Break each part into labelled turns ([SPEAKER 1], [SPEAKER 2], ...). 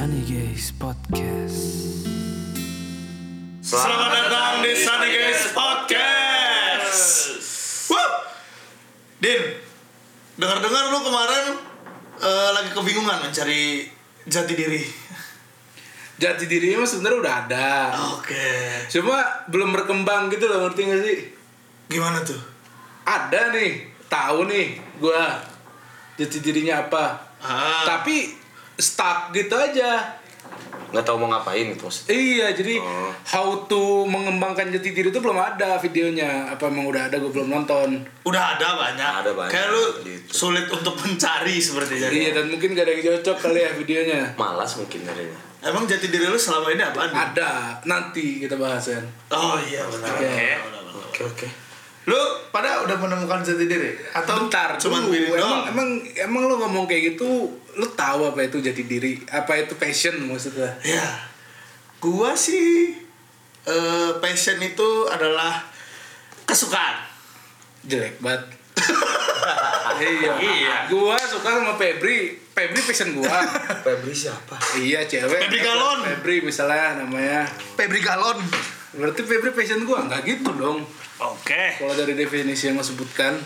[SPEAKER 1] Sundays Podcast.
[SPEAKER 2] Selamat datang di Sunny Guys Podcast. Wuh. Din, dengar-dengar lu kemarin eh, lagi kebingungan mencari jati diri.
[SPEAKER 3] jati dirinya mah sebenarnya udah ada
[SPEAKER 2] Oke.
[SPEAKER 3] cuma belum berkembang gitu loh ngerti gak sih
[SPEAKER 2] Gimana tuh?
[SPEAKER 3] ada nih tahu nih gua jati dirinya apa
[SPEAKER 2] Ah.
[SPEAKER 3] tapi stuck gitu aja
[SPEAKER 4] nggak tahu mau ngapain gitu maksudnya
[SPEAKER 3] iya jadi
[SPEAKER 4] Oh.
[SPEAKER 3] how to mengembangkan jati diri itu belum ada videonya apa emang udah ada gue belum nonton
[SPEAKER 2] Udah ada banyak.
[SPEAKER 4] Ada banyak,
[SPEAKER 2] Kayak lu
[SPEAKER 4] gitu.
[SPEAKER 2] sulit untuk mencari sepertinya.
[SPEAKER 3] iya dan mungkin gak ada yang cocok kali ya videonya
[SPEAKER 4] malas mungkin nyarinya
[SPEAKER 2] Emang jati diri lu selama ini apaan? Din?
[SPEAKER 3] ada nanti kita bahas ya
[SPEAKER 2] Oh iya benar.
[SPEAKER 3] Oke.
[SPEAKER 2] benar, benar, benar.
[SPEAKER 4] oke oke
[SPEAKER 2] Lu pada udah menemukan jati diri atau
[SPEAKER 3] Bentar,
[SPEAKER 2] cuman
[SPEAKER 3] dulu.
[SPEAKER 2] pilih
[SPEAKER 3] emang,
[SPEAKER 2] doang?
[SPEAKER 3] emang emang lu ngomong kayak gitu, lu tahu apa itu jati diri, apa itu passion maksudnya?
[SPEAKER 2] Ya, gua sih eh, passion itu adalah kesukaan.
[SPEAKER 3] Jelek banget. iya.
[SPEAKER 2] Iya.
[SPEAKER 3] Gua suka sama Febri. Febri passion gua.
[SPEAKER 4] Febri siapa
[SPEAKER 3] iya, cewek.
[SPEAKER 2] Febri Galon.
[SPEAKER 3] Febri misalnya namanya.
[SPEAKER 2] Febri Galon.
[SPEAKER 3] Berarti Febri passion gua nggak gitu dong.
[SPEAKER 2] Oke.
[SPEAKER 3] Kalau dari definisi yang lo sebutkan,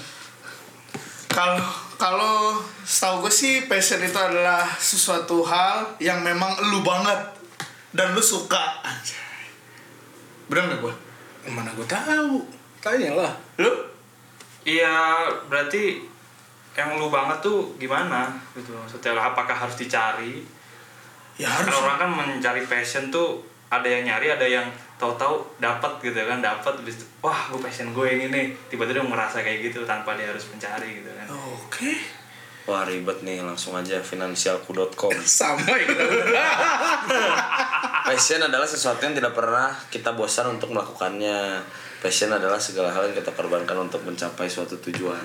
[SPEAKER 2] Kalau kalau setahu gue sih passion itu adalah sesuatu hal yang memang lu banget dan lu suka. Anjay. Benar nggak gue?
[SPEAKER 3] mana gua tahu? Tanya lah.
[SPEAKER 2] Lu?
[SPEAKER 5] Iya, berarti yang lu banget tuh gimana gitu maksudnya lah, apakah harus dicari
[SPEAKER 2] Ya harus.
[SPEAKER 5] kalau orang kan mencari passion tuh ada yang nyari ada yang tahu-tahu dapat gitu kan dapat habis itu, wah gue passion gue yang ini tiba-tiba dia merasa kayak gitu tanpa dia harus mencari gitu
[SPEAKER 3] Oh.
[SPEAKER 5] kan
[SPEAKER 2] Oke.
[SPEAKER 4] wah ribet nih langsung aja finansialku.com
[SPEAKER 3] Sama ya. kita
[SPEAKER 4] passion adalah sesuatu yang tidak pernah kita bosan untuk melakukannya passion adalah segala hal yang kita korbankan untuk mencapai suatu tujuan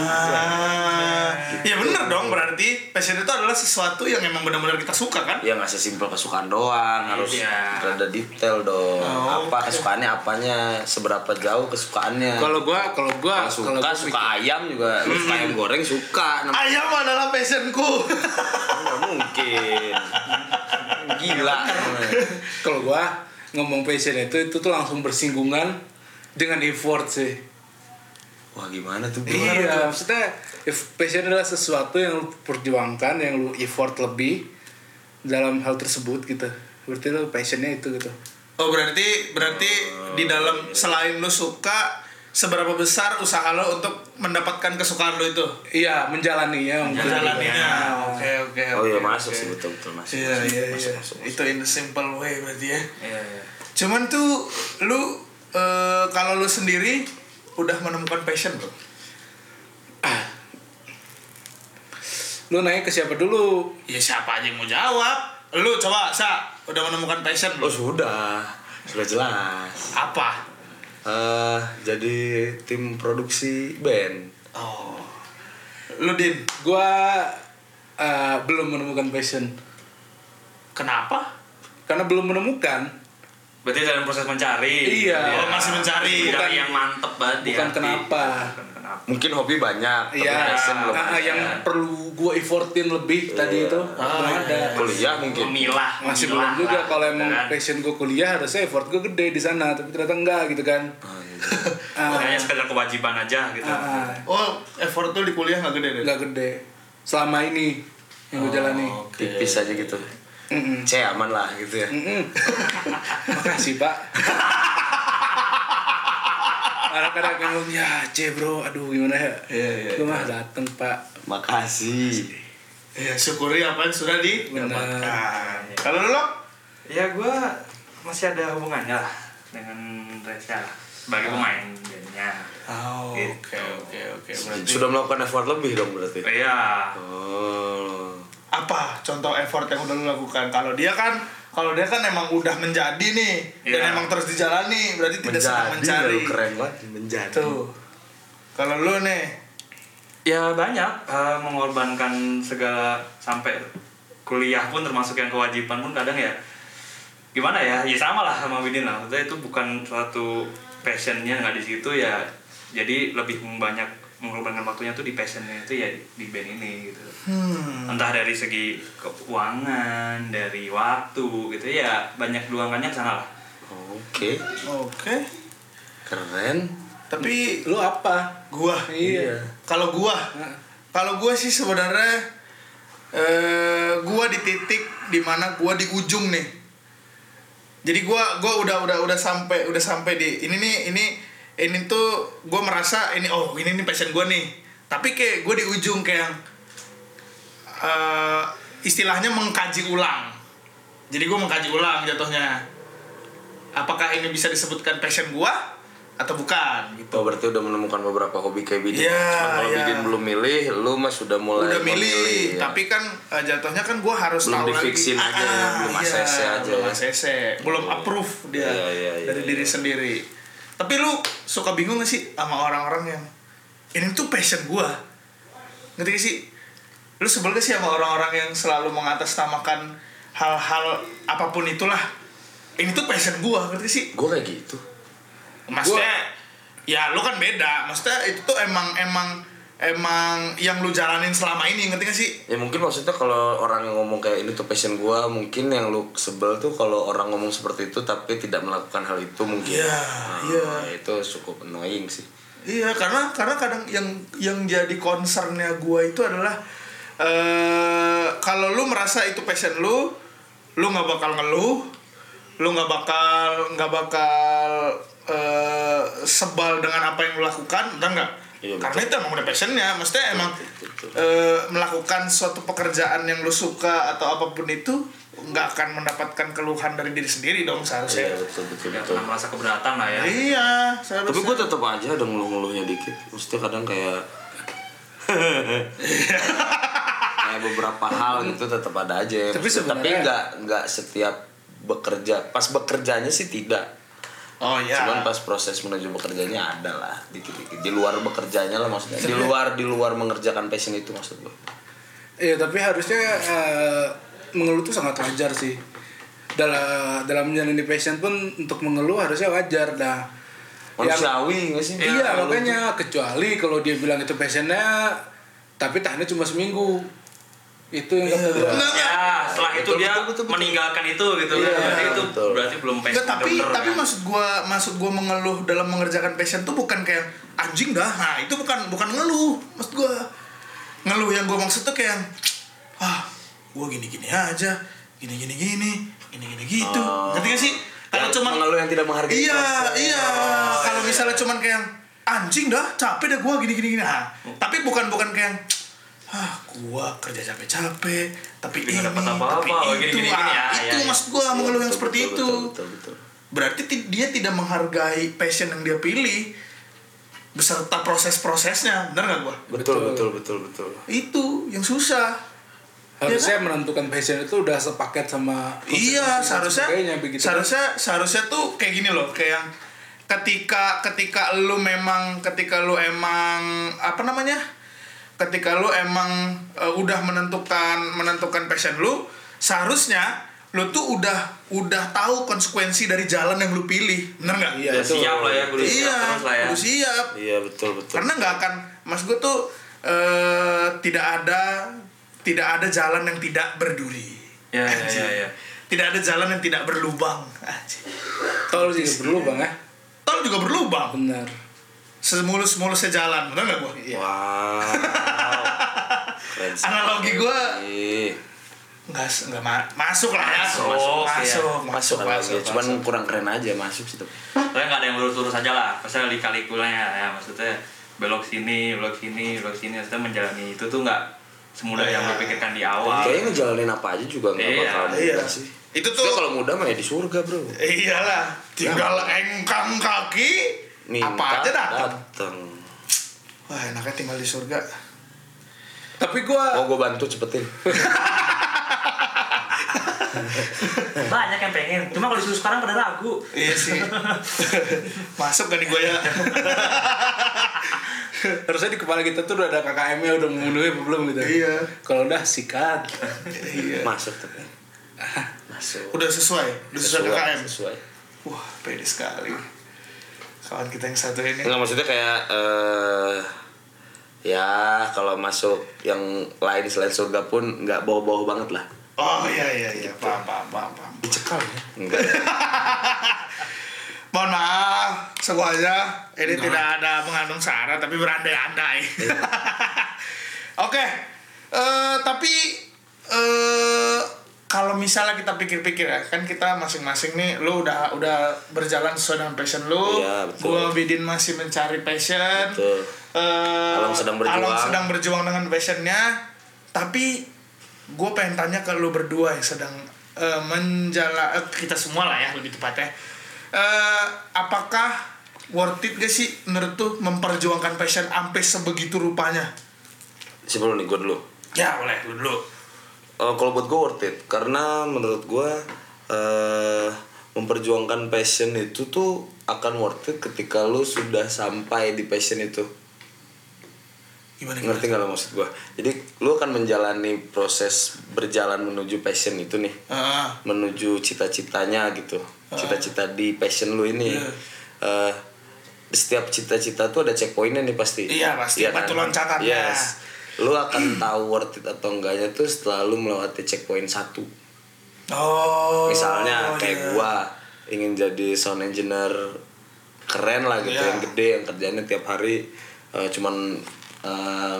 [SPEAKER 2] Ah, ya benar dong berarti passion itu adalah sesuatu yang emang benar-benar kita suka kan?
[SPEAKER 4] ya nggak sesimpel kesukaan doang harus
[SPEAKER 5] Iya.
[SPEAKER 4] rada detail dong
[SPEAKER 2] Oh,
[SPEAKER 4] apa kesukaannya apanya seberapa jauh kesukaannya
[SPEAKER 3] Kalau gua, kalau gua,
[SPEAKER 4] Kalau suka
[SPEAKER 3] gua
[SPEAKER 4] suka ayam juga Lu suka ayam goreng suka namanya
[SPEAKER 2] Ayam adalah passionku.
[SPEAKER 4] nggak mungkin gila
[SPEAKER 3] kalau gua ngomong passion itu itu tuh langsung bersinggungan dengan effort sih
[SPEAKER 4] wah gimana tuh bro
[SPEAKER 3] iya maksudnya if- passion adalah sesuatu yang lu perjuangkan yang lu effort lebih dalam hal tersebut gitu berarti lu passionnya itu gitu
[SPEAKER 2] Oh berarti berarti di dalam selain lu suka seberapa besar usaha lo untuk mendapatkan kesukaan lo itu?
[SPEAKER 3] iya menjalaninya gitu.
[SPEAKER 2] Menjalaninya. Oke oke.
[SPEAKER 4] oh iya
[SPEAKER 2] oke,
[SPEAKER 4] masuk
[SPEAKER 2] oke.
[SPEAKER 4] sih betul betul masuk
[SPEAKER 2] Iya
[SPEAKER 4] masuk,
[SPEAKER 2] iya
[SPEAKER 4] masuk,
[SPEAKER 2] iya.
[SPEAKER 4] masuk, masuk.
[SPEAKER 2] Itu in a simple way berarti ya.
[SPEAKER 5] iya iya
[SPEAKER 2] Cuman tuh lu eh, kalau lu sendiri udah menemukan passion bro.
[SPEAKER 3] lu nanya ke siapa dulu
[SPEAKER 2] Ya siapa aja yang mau jawab? Lu coba sa udah menemukan passion
[SPEAKER 4] oh
[SPEAKER 2] bro.
[SPEAKER 4] sudah sudah jelas
[SPEAKER 2] Apa?
[SPEAKER 4] eh jadi tim produksi band
[SPEAKER 2] Oh. Lu din
[SPEAKER 3] gua eh, belum menemukan passion
[SPEAKER 2] kenapa?
[SPEAKER 3] karena belum menemukan
[SPEAKER 5] berarti dalam proses
[SPEAKER 3] Iya.
[SPEAKER 5] mencari gitu ya.
[SPEAKER 2] Oh masih mencari.
[SPEAKER 5] Mencari
[SPEAKER 3] Bukan-
[SPEAKER 5] yang mantep banget ya. di
[SPEAKER 3] bukan
[SPEAKER 5] hati.
[SPEAKER 3] kenapa.
[SPEAKER 5] bukan kenapa
[SPEAKER 4] mungkin hobi banyak tapi
[SPEAKER 3] Iya,
[SPEAKER 4] passion belum
[SPEAKER 3] ah, ah, yang perlu gue effortin lebih tadi itu belum ada.
[SPEAKER 4] kuliah mungkin
[SPEAKER 5] memilah
[SPEAKER 3] gitu. Masih belum
[SPEAKER 5] memilah
[SPEAKER 3] juga
[SPEAKER 5] lah,
[SPEAKER 3] kalau
[SPEAKER 5] gitu
[SPEAKER 3] emang
[SPEAKER 5] kan.
[SPEAKER 3] passion gue kuliah harusnya effort gue gede di sana, tapi ternyata enggak gitu kan.
[SPEAKER 4] Oh, iya.
[SPEAKER 3] Ah,
[SPEAKER 5] Makanya sekedar kewajiban aja gitu
[SPEAKER 3] ah, ah,
[SPEAKER 2] Oh effort tuh di kuliah nggak gede deh.
[SPEAKER 3] enggak gede. Selama ini yang gue jalani.
[SPEAKER 2] Oh,
[SPEAKER 4] tipis aja gitu
[SPEAKER 3] Mm-mm.
[SPEAKER 4] C aman lah gitu ya
[SPEAKER 3] Mm-mm. Makasih pak. Kadang-kadang ngomong, ya C bro, aduh gimana ya.
[SPEAKER 2] Iya, iya,
[SPEAKER 3] Gue mah dateng pak.
[SPEAKER 4] makasih
[SPEAKER 2] Ya, syukuri apa yang sudah
[SPEAKER 5] Ah,
[SPEAKER 2] didapatkan.
[SPEAKER 5] iya.
[SPEAKER 2] Kalau lu Lok?
[SPEAKER 5] Ya gue masih ada hubungannya lah dengan Reza lah, sebagai pemain bandnya.
[SPEAKER 2] Oh,
[SPEAKER 5] Gitu.
[SPEAKER 2] oke oke oke. Berarti
[SPEAKER 4] sudah melakukan effort lebih dong berarti
[SPEAKER 5] Iya.
[SPEAKER 4] oh
[SPEAKER 2] apa contoh effort yang udah lu lakukan? Kalau dia kan kalau dia kan emang udah menjadi nih dan
[SPEAKER 5] Iya.
[SPEAKER 2] emang terus dijalani, berarti tidak
[SPEAKER 4] menjadi
[SPEAKER 2] sedang mencari.
[SPEAKER 4] lu keren banget menjadi
[SPEAKER 2] Tuh. Kalau lu nih,
[SPEAKER 5] Ya banyak eh, mengorbankan segala sampai kuliah pun termasuk yang kewajiban pun kadang ya gimana ya ya sama lah sama Widin lah maksudnya itu bukan suatu passionnya nggak di situ ya jadi lebih banyak mengorbankan waktunya tuh di passionnya itu ya di band ini gitu
[SPEAKER 2] Hmm.
[SPEAKER 5] entah dari segi keuangan dari waktu gitu ya banyak luangannya ke sana lah
[SPEAKER 4] Oke,
[SPEAKER 2] Oke.
[SPEAKER 4] keren.
[SPEAKER 2] Tapi
[SPEAKER 3] Lu apa?
[SPEAKER 2] gua
[SPEAKER 3] Iya.
[SPEAKER 2] kalau gua
[SPEAKER 3] Nah,
[SPEAKER 2] kalau gua sih sebenarnya eh gua di titik dimana gua di ujung nih jadi gua gua udah udah udah sampai udah sampai di ini nih ini ini tuh gua merasa ini oh ini nih passion gua nih tapi kayak gua di ujung kayak yang, eh, istilahnya mengkaji ulang jadi gua mengkaji ulang jatuhnya apakah ini bisa disebutkan passion gua atau bukan gitu
[SPEAKER 4] Oh berarti udah menemukan beberapa hobi kayak Bidin.
[SPEAKER 2] Iya,
[SPEAKER 4] Cuman kalau
[SPEAKER 2] iya.
[SPEAKER 4] Bidin belum milih, lu mah sudah mulai
[SPEAKER 2] udah milih,
[SPEAKER 4] memilih, ya.
[SPEAKER 2] tapi kan eh, jatuhnya kan gue harus
[SPEAKER 4] Belum
[SPEAKER 2] tahu lagi
[SPEAKER 4] difiksin aja ya, belum
[SPEAKER 2] iya,
[SPEAKER 4] ACC aja
[SPEAKER 2] belum
[SPEAKER 4] ya.
[SPEAKER 2] ACC belum approve
[SPEAKER 4] Iya,
[SPEAKER 2] dia
[SPEAKER 4] iya, iya,
[SPEAKER 2] dari
[SPEAKER 4] iya.
[SPEAKER 2] diri sendiri tapi lu suka bingung gak sih sama orang-orang yang ini tuh passion gue ngerti gak sih lu sebel gak sih sama orang-orang yang selalu mengatasnamakan hal-hal apapun itulah ini tuh passion gue ngerti gak sih
[SPEAKER 4] Gue kayak gitu.
[SPEAKER 2] maksudnya ya lu kan beda maksudnya itu tuh emang emang emang yang lu jalanin selama ini ngerti gak sih
[SPEAKER 4] Ya mungkin maksudnya kalau orang yang ngomong kayak ini tuh passion gua, mungkin yang lu sebel tuh kalau orang ngomong seperti itu tapi tidak melakukan hal itu mungkin.
[SPEAKER 2] Iya,
[SPEAKER 4] Nah,
[SPEAKER 2] iya.
[SPEAKER 4] Itu cukup annoying sih.
[SPEAKER 2] Iya, karena karena kadang yang yang jadi concernnya gua itu adalah eh kalau lu merasa itu passion lu, lu nggak bakal ngeluh, lu nggak bakal nggak bakal eh, sebal dengan apa yang lu lakukan, enggak enggak.
[SPEAKER 4] Iya, betul.
[SPEAKER 2] karena itu emang udah passionnya, maksudnya emang
[SPEAKER 4] Betul, betul.
[SPEAKER 2] eh, melakukan suatu pekerjaan yang lu suka atau apapun itu nggak akan mendapatkan keluhan dari diri sendiri dong
[SPEAKER 4] Iya,
[SPEAKER 2] seharusnya.
[SPEAKER 4] betul betul
[SPEAKER 5] nggak
[SPEAKER 4] betul.
[SPEAKER 5] pernah merasa keberatan lah ya
[SPEAKER 2] Iya,
[SPEAKER 4] Tapi
[SPEAKER 2] seharusnya.
[SPEAKER 4] gue tetap aja ada ngeluh-ngeluhnya dikit. Maksudnya kadang kayak kayak beberapa hal gitu tetap ada aja. Maksudnya,
[SPEAKER 3] Tapi
[SPEAKER 4] tapi
[SPEAKER 3] sebenarnya-
[SPEAKER 4] nggak nggak setiap bekerja. Pas bekerjanya sih tidak.
[SPEAKER 2] Oh iya.
[SPEAKER 4] Cuman pas proses menuju bekerjanya ada lah dikit-dikit. Di luar bekerjanya lah maksudnya. Di luar di luar mengerjakan passion itu maksud gue.
[SPEAKER 3] Iya tapi harusnya eh, mengeluh itu sangat wajar sih. Dalam dalam menjalani passion pun untuk mengeluh harusnya wajar dah. Yang-
[SPEAKER 4] Manusiawi nggak sih?
[SPEAKER 3] iya makanya kecuali kalau dia bilang itu passionnya tapi tahannya cuma seminggu itu yang kata gua.
[SPEAKER 2] Nah,
[SPEAKER 5] ya setelah itu
[SPEAKER 4] Betul,
[SPEAKER 5] dia
[SPEAKER 4] betul, betul, betul.
[SPEAKER 5] meninggalkan itu gitu
[SPEAKER 3] Iya,
[SPEAKER 5] berarti itu
[SPEAKER 4] betul.
[SPEAKER 5] berarti belum
[SPEAKER 2] Enggak,
[SPEAKER 5] passion
[SPEAKER 2] tapi
[SPEAKER 5] bener,
[SPEAKER 2] tapi
[SPEAKER 4] ya.
[SPEAKER 5] kan?
[SPEAKER 2] maksud gua maksud gua mengeluh dalam mengerjakan passion tuh bukan kayak anjing dah. Nah, itu bukan bukan ngeluh. Maksud gua ngeluh yang gua maksud tuh kayak ah, gua gini-gini aja, gini-gini gini, gini-gini gitu.
[SPEAKER 4] Oh.
[SPEAKER 2] Ngerti gak sih? Kalau
[SPEAKER 4] Yang
[SPEAKER 2] cuma
[SPEAKER 4] mengeluh yang tidak menghargai
[SPEAKER 2] Iya,
[SPEAKER 4] proses.
[SPEAKER 2] iya.
[SPEAKER 4] Oh,
[SPEAKER 2] Kalau
[SPEAKER 4] iya.
[SPEAKER 2] misalnya cuman kayak anjing dah, capek dah gua gini-gini gini. Nah,
[SPEAKER 4] Hmm.
[SPEAKER 2] tapi bukan bukan kayak ah gua kerja capek-capek tapi
[SPEAKER 5] Tapi
[SPEAKER 2] ini
[SPEAKER 5] nggak dapat
[SPEAKER 2] tapi
[SPEAKER 5] apa-apa, oh,
[SPEAKER 2] itu ah,
[SPEAKER 5] gini-gini gini, ya,
[SPEAKER 2] itu
[SPEAKER 5] ya, ya.
[SPEAKER 2] maksud gua
[SPEAKER 4] Iya,
[SPEAKER 2] mengeluh yang
[SPEAKER 4] Betul,
[SPEAKER 2] seperti
[SPEAKER 4] betul,
[SPEAKER 2] itu
[SPEAKER 4] Betul, betul, betul.
[SPEAKER 2] berarti ti- dia tidak menghargai passion yang dia pilih beserta proses-prosesnya benar nggak gua
[SPEAKER 4] Betul, betul, betul, betul.
[SPEAKER 2] itu yang susah
[SPEAKER 3] harusnya menentukan passion itu udah sepaket sama
[SPEAKER 2] iya
[SPEAKER 3] konsep-konsep
[SPEAKER 2] seharusnya
[SPEAKER 3] sebagainya, begitu kan.
[SPEAKER 2] seharusnya seharusnya tuh kayak gini loh kayak yang ketika ketika lu memang ketika lu emang apa namanya ketika lu emang eh, udah menentukan menentukan passion lu seharusnya lu tuh udah udah tahu konsekuensi dari jalan yang lu pilih bener nggak
[SPEAKER 3] iya
[SPEAKER 5] Udah
[SPEAKER 3] itu
[SPEAKER 5] siap lah ya kudu siap
[SPEAKER 2] iya
[SPEAKER 5] terus lah ya
[SPEAKER 2] lu siap
[SPEAKER 4] Iya, betul, betul.
[SPEAKER 2] karena nggak akan mas gue tuh eh, tidak ada tidak ada jalan yang tidak berduri
[SPEAKER 5] ya ya
[SPEAKER 2] Anjing.
[SPEAKER 5] ya, ya.
[SPEAKER 2] tidak ada jalan yang tidak berlubang Anjing.
[SPEAKER 3] tol
[SPEAKER 2] Iya.
[SPEAKER 3] juga perlu bang ya
[SPEAKER 2] tol juga berlubang
[SPEAKER 3] benar
[SPEAKER 2] semulus mulusnya jalan benar nggak gue
[SPEAKER 3] Hmm. iya
[SPEAKER 4] Wow. Keren sekali.
[SPEAKER 2] analogi gue
[SPEAKER 4] Ih,
[SPEAKER 2] nggak s- nggak ma- masuk lah ya
[SPEAKER 5] Masuk,
[SPEAKER 2] masuk masuk
[SPEAKER 5] iya.
[SPEAKER 4] masuk
[SPEAKER 2] masuk,
[SPEAKER 4] analogi.
[SPEAKER 2] masuk,
[SPEAKER 4] ya? Cuman kurang keren aja masuk sih tapi.
[SPEAKER 5] Soalnya nggak ada yang lurus-lurus aja lah. Pasti di kalikulanya ya maksudnya belok sini, belok sini, belok sini. Maksudnya menjalani itu tuh nggak semudah yang
[SPEAKER 4] Iya.
[SPEAKER 5] lo pikirkan di awal.
[SPEAKER 4] Kayaknya ngejalanin apa aja juga nggak
[SPEAKER 5] Iya,
[SPEAKER 4] bakal mudah
[SPEAKER 2] iya.
[SPEAKER 4] sih.
[SPEAKER 2] Itu tuh-
[SPEAKER 4] Maksudnya kalau mudah mah ya di surga bro.
[SPEAKER 2] iyalah tinggal engkang kaki apa aja datang
[SPEAKER 4] datang.
[SPEAKER 2] wah enaknya tinggal di surga
[SPEAKER 3] tapi gua
[SPEAKER 2] Oh.
[SPEAKER 4] Mau gue Oh, bantu cepetin.
[SPEAKER 5] Banyak yang pengen. Cuma kalau disuruh sekarang pada ragu.
[SPEAKER 2] iya sih masuk gak nih gue ya
[SPEAKER 3] harusnya di kepala kita tuh udah ada KKM nya udah memenuhi apa belum gitu
[SPEAKER 2] Iya.
[SPEAKER 3] kalau udah sikat
[SPEAKER 2] iya
[SPEAKER 4] Masuk tapi. Masuk.
[SPEAKER 2] Udah sesuai, udah sesuai, KKM.
[SPEAKER 4] Sesuai.
[SPEAKER 2] Wah, pede sekali. Kawan kita yang satu ini.
[SPEAKER 4] Enggak maksudnya kayak eh ya kalau masuk yang lain selain surga pun nggak bau-bau banget lah
[SPEAKER 2] Oh iya iya iya paham paham paham paham.
[SPEAKER 3] Dicekal ya.
[SPEAKER 4] enggak
[SPEAKER 2] Mohon maaf semuanya ini tidak ada mengandung sara tapi berandai-andai.
[SPEAKER 4] Iya.
[SPEAKER 2] Oke. Eh, tapi eh kalau misalnya kita pikir-pikir ya, kan kita masing-masing nih lu udah udah berjalan sesuai dengan passion lu.
[SPEAKER 4] Iya, betul.
[SPEAKER 2] Gua Bidin masih mencari passion.
[SPEAKER 4] Betul.
[SPEAKER 2] Eh,
[SPEAKER 4] Along sedang berjuang.
[SPEAKER 2] Along sedang berjuang dengan passionnya. Tapi gue pengen tanya ke lu berdua yang sedang eh, menjala eh, kita semua lah ya lebih tepatnya. Eh, apakah worth it gak sih menurut tuh memperjuangkan passion sampai sebegitu rupanya?
[SPEAKER 4] sebelum nih gue dulu
[SPEAKER 2] Ya boleh lu dulu.
[SPEAKER 4] Eh, kalau buat gue worth it karena menurut gue eh memperjuangkan passion itu tuh akan worth it ketika lu sudah sampai di passion itu
[SPEAKER 2] Gimana gimana?
[SPEAKER 4] ngerti nggak lo maksud gue jadi lu akan menjalani proses berjalan menuju passion itu nih
[SPEAKER 2] Ah,
[SPEAKER 4] menuju cita-citanya gitu cita-cita di passion lu ini
[SPEAKER 2] Iya.
[SPEAKER 4] Eh, setiap cita-cita tuh ada checkpointnya nih pasti kan?
[SPEAKER 2] Iya, pasti. Batu ya. loncatannya.
[SPEAKER 4] yes lu akan tahu worth it atau enggaknya tuh setelah lu melewati checkpoint satu
[SPEAKER 2] oh.
[SPEAKER 4] misalnya kayak
[SPEAKER 2] iya.
[SPEAKER 4] gua ingin jadi sound engineer keren lah gitu
[SPEAKER 2] Iya.
[SPEAKER 4] yang gede yang kerjanya tiap hari eh, cuman eh,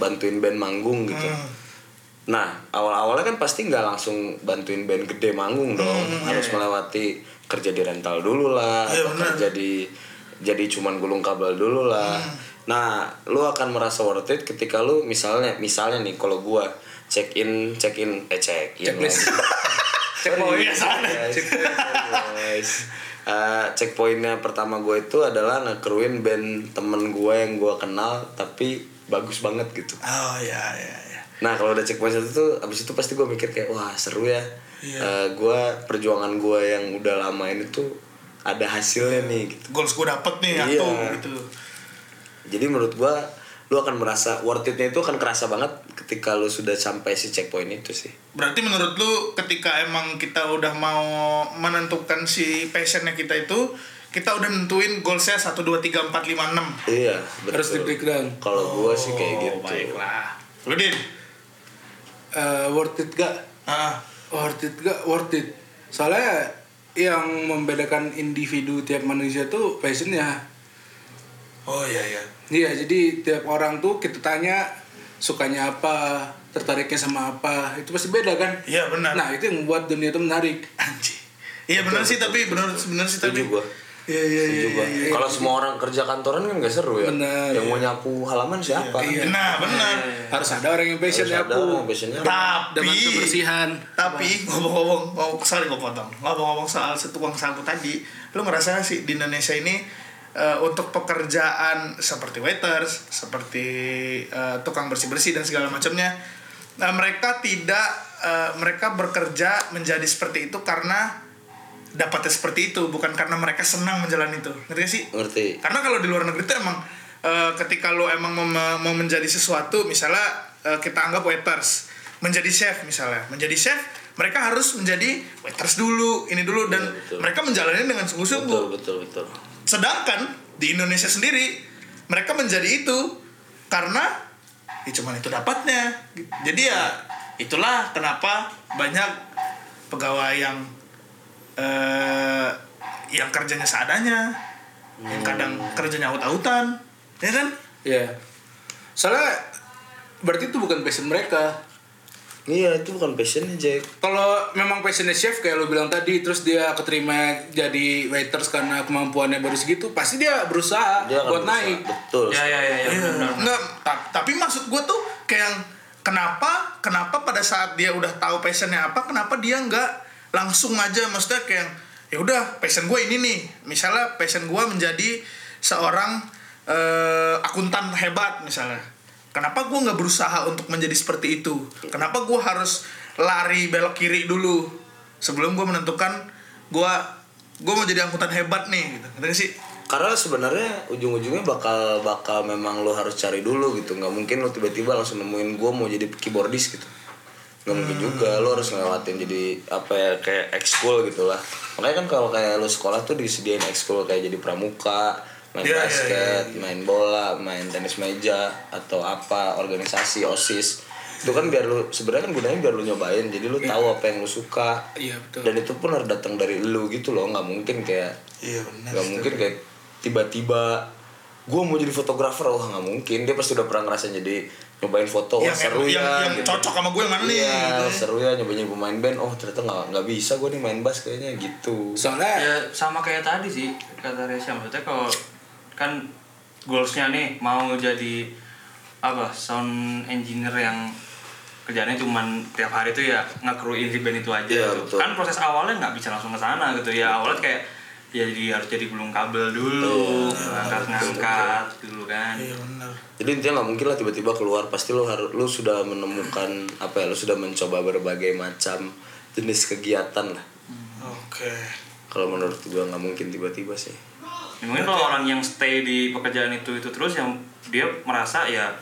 [SPEAKER 4] bantuin band manggung gitu
[SPEAKER 2] Hmm.
[SPEAKER 4] nah awal-awalnya kan pasti nggak langsung bantuin band gede manggung dong harus melewati kerja di rental dulu lah
[SPEAKER 2] Hmm, Iya,
[SPEAKER 4] atau
[SPEAKER 2] benar.
[SPEAKER 4] kerja di jadi cuman gulung kabel dulu lah
[SPEAKER 2] Hmm.
[SPEAKER 4] nah lu akan merasa worth it ketika lu misalnya misalnya nih kalau gua check in check in eh check in
[SPEAKER 3] Checklist.
[SPEAKER 4] lagi.
[SPEAKER 2] Checkpoint, ya, salah.
[SPEAKER 4] Checkpoint, Iya, guys. Eh, checkpointnya pertama gue itu adalah ngekeruin band temen gue yang gue kenal tapi bagus banget gitu
[SPEAKER 2] Oh ya ya ya.
[SPEAKER 4] nah kalau udah checkpoint satu tuh abis itu pasti gue mikir kayak wah seru ya
[SPEAKER 2] Iya.
[SPEAKER 4] Eh, gue perjuangan gue yang udah lama ini tuh ada
[SPEAKER 3] Iya.
[SPEAKER 4] hasilnya nih gitu
[SPEAKER 2] Goals gue dapet nih
[SPEAKER 4] Iya.
[SPEAKER 2] satu gitu.
[SPEAKER 4] jadi menurut gue lu akan merasa worth it-nya itu akan kerasa banget ketika lu sudah sampai si checkpoint itu sih
[SPEAKER 2] Berarti menurut lu ketika emang kita udah mau menentukan si passionnya kita itu kita udah nentuin goalsnya 1, 2, 3, 4, 5, 6
[SPEAKER 4] iya betul
[SPEAKER 3] Harus di breakdown. Oh,
[SPEAKER 4] kalau gue sih kayak gitu
[SPEAKER 2] Baiklah Lu Din
[SPEAKER 3] Eh, worth it gak?
[SPEAKER 2] ah.
[SPEAKER 3] Worth it gak? Worth it. Soalnya yang membedakan individu tiap manusia tuh passionnya.
[SPEAKER 2] Oh iya iya
[SPEAKER 3] Iya, jadi tiap orang tuh kita tanya sukanya apa, tertariknya sama apa, itu pasti beda kan?
[SPEAKER 2] Iya benar
[SPEAKER 3] Nah, itu yang membuat dunia itu menarik.
[SPEAKER 2] Anjing Iya benar sih tapi benar benar sih tapi
[SPEAKER 4] setuju gue
[SPEAKER 2] Iya iya iya
[SPEAKER 4] Setuju gua. Kalau semua orang kerja kantoran kan gak seru ya.
[SPEAKER 3] Benar,
[SPEAKER 4] yang mau nyapu halaman siapa?
[SPEAKER 2] iya. Nah benar
[SPEAKER 3] Harus ada orang yang
[SPEAKER 4] Harus
[SPEAKER 3] passionnya
[SPEAKER 4] ada orang
[SPEAKER 3] aku
[SPEAKER 4] passionnya.
[SPEAKER 3] Iya. dengan
[SPEAKER 2] Tapi
[SPEAKER 3] kebersihan.
[SPEAKER 2] tapi ngomong-ngomong, oh, sorry gue potong. Ngomong-ngomong soal setukang sapu tadi, lu ngerasa gak sih di Indonesia ini eh, untuk pekerjaan seperti waiters, seperti eh, tukang bersih-bersih dan segala macamnya, nah, mereka tidak eh, mereka bekerja menjadi seperti itu karena dapatnya seperti itu, bukan karena mereka senang menjalani itu. Ngerti gak sih?
[SPEAKER 4] Ngerti?
[SPEAKER 2] karena kalau di luar negeri tuh emang eh, ketika lo emang mau, mau menjadi sesuatu misalnya eh, kita anggap waiters menjadi chef misalnya menjadi chef mereka harus menjadi waiters dulu ini dulu dan
[SPEAKER 4] Iya, betul.
[SPEAKER 2] mereka menjalani dengan
[SPEAKER 4] Betul
[SPEAKER 2] sungguh-sungguh
[SPEAKER 4] betul betul.
[SPEAKER 2] sedangkan di Indonesia sendiri mereka menjadi itu karena ya cuman itu dapatnya jadi ya itulah kenapa banyak pegawai yang eh, yang kerjanya seadanya yang kadang kerjanya aut-autan ya kan
[SPEAKER 3] Iya. Soalnya berarti itu bukan passion mereka.
[SPEAKER 4] Iya itu bukan passionnya Jack.
[SPEAKER 3] Kalau memang passionnya chef kayak lo bilang tadi, terus dia keterima jadi waiters karena kemampuannya baru segitu, pasti dia berusaha
[SPEAKER 4] Dia akan
[SPEAKER 3] buat
[SPEAKER 4] berusaha.
[SPEAKER 3] naik.
[SPEAKER 4] Betul.
[SPEAKER 5] ya ya ya, ya,
[SPEAKER 2] Iya.
[SPEAKER 5] benar.
[SPEAKER 2] Nggak, ta- tapi maksud gue tuh kayak yang kenapa kenapa pada saat dia udah tahu passionnya apa kenapa dia nggak langsung aja maksudnya kayak yang, ya udah passion gue ini nih misalnya passion gue menjadi seorang eh, akuntan hebat misalnya kenapa gue nggak berusaha untuk menjadi seperti itu kenapa gue harus lari belok kiri dulu sebelum gue menentukan gue gue mau jadi angkutan hebat nih gitu ngerti nggak sih
[SPEAKER 4] Karena sebenarnya ujung-ujungnya bakal bakal memang lo harus cari dulu gitu. Nggak mungkin lo tiba-tiba langsung nemuin gue mau jadi keyboardis gitu. Nggak mungkin juga lo harus ngelewatin jadi apa ya kayak ekskul gitu lah. Makanya kan kalau kayak lo sekolah tuh disediain ekskul kayak jadi pramuka, main
[SPEAKER 2] Iya, iya,
[SPEAKER 4] basket,
[SPEAKER 2] iya,
[SPEAKER 4] main bola, main tenis meja atau apa organisasi osis itu kan biar lu sebenarnya kan gunanya biar lu nyobain jadi lu
[SPEAKER 2] Iya.
[SPEAKER 4] tahu apa yang lu suka
[SPEAKER 3] Iya, betul.
[SPEAKER 4] dan itu pun harus datang dari lu gitu loh nggak mungkin kayak
[SPEAKER 2] Iya benar.
[SPEAKER 4] nggak mungkin kayak tiba-tiba gue mau jadi fotografer wah nggak mungkin dia pasti udah pernah ngerasain jadi nyobain foto wah
[SPEAKER 2] Yang,
[SPEAKER 4] seru
[SPEAKER 2] yang,
[SPEAKER 4] ya
[SPEAKER 2] yang
[SPEAKER 4] gitu.
[SPEAKER 2] cocok sama gue yang mana nih?
[SPEAKER 4] Iya,
[SPEAKER 2] gitu ya.
[SPEAKER 4] seru ya nyobain jadi pemain band oh ternyata nggak nggak bisa gue nih main bass kayaknya gitu
[SPEAKER 3] soalnya
[SPEAKER 5] ya sama kayak tadi sih kata Resya maksudnya kalau kan goalsnya nih mau jadi apa sound engineer yang kerjanya cuman tiap hari tuh ya ngekruin si band itu aja
[SPEAKER 4] Iya,
[SPEAKER 5] gitu.
[SPEAKER 4] betul.
[SPEAKER 5] kan proses awalnya nggak bisa langsung ke sana gitu ya awalnya kayak ya jadi harus jadi gulung kabel dulu ngangkat ngangkat dulu kan
[SPEAKER 2] Iya benar.
[SPEAKER 4] jadi intinya nggak mungkin lah tiba-tiba keluar pasti lu harus lu sudah menemukan apa ya lu sudah mencoba berbagai macam jenis kegiatan lah
[SPEAKER 2] Oke.
[SPEAKER 4] kalau menurut gue nggak mungkin tiba-tiba sih
[SPEAKER 5] Ya, mungkin kalau orang yang stay di pekerjaan itu itu terus yang dia merasa ya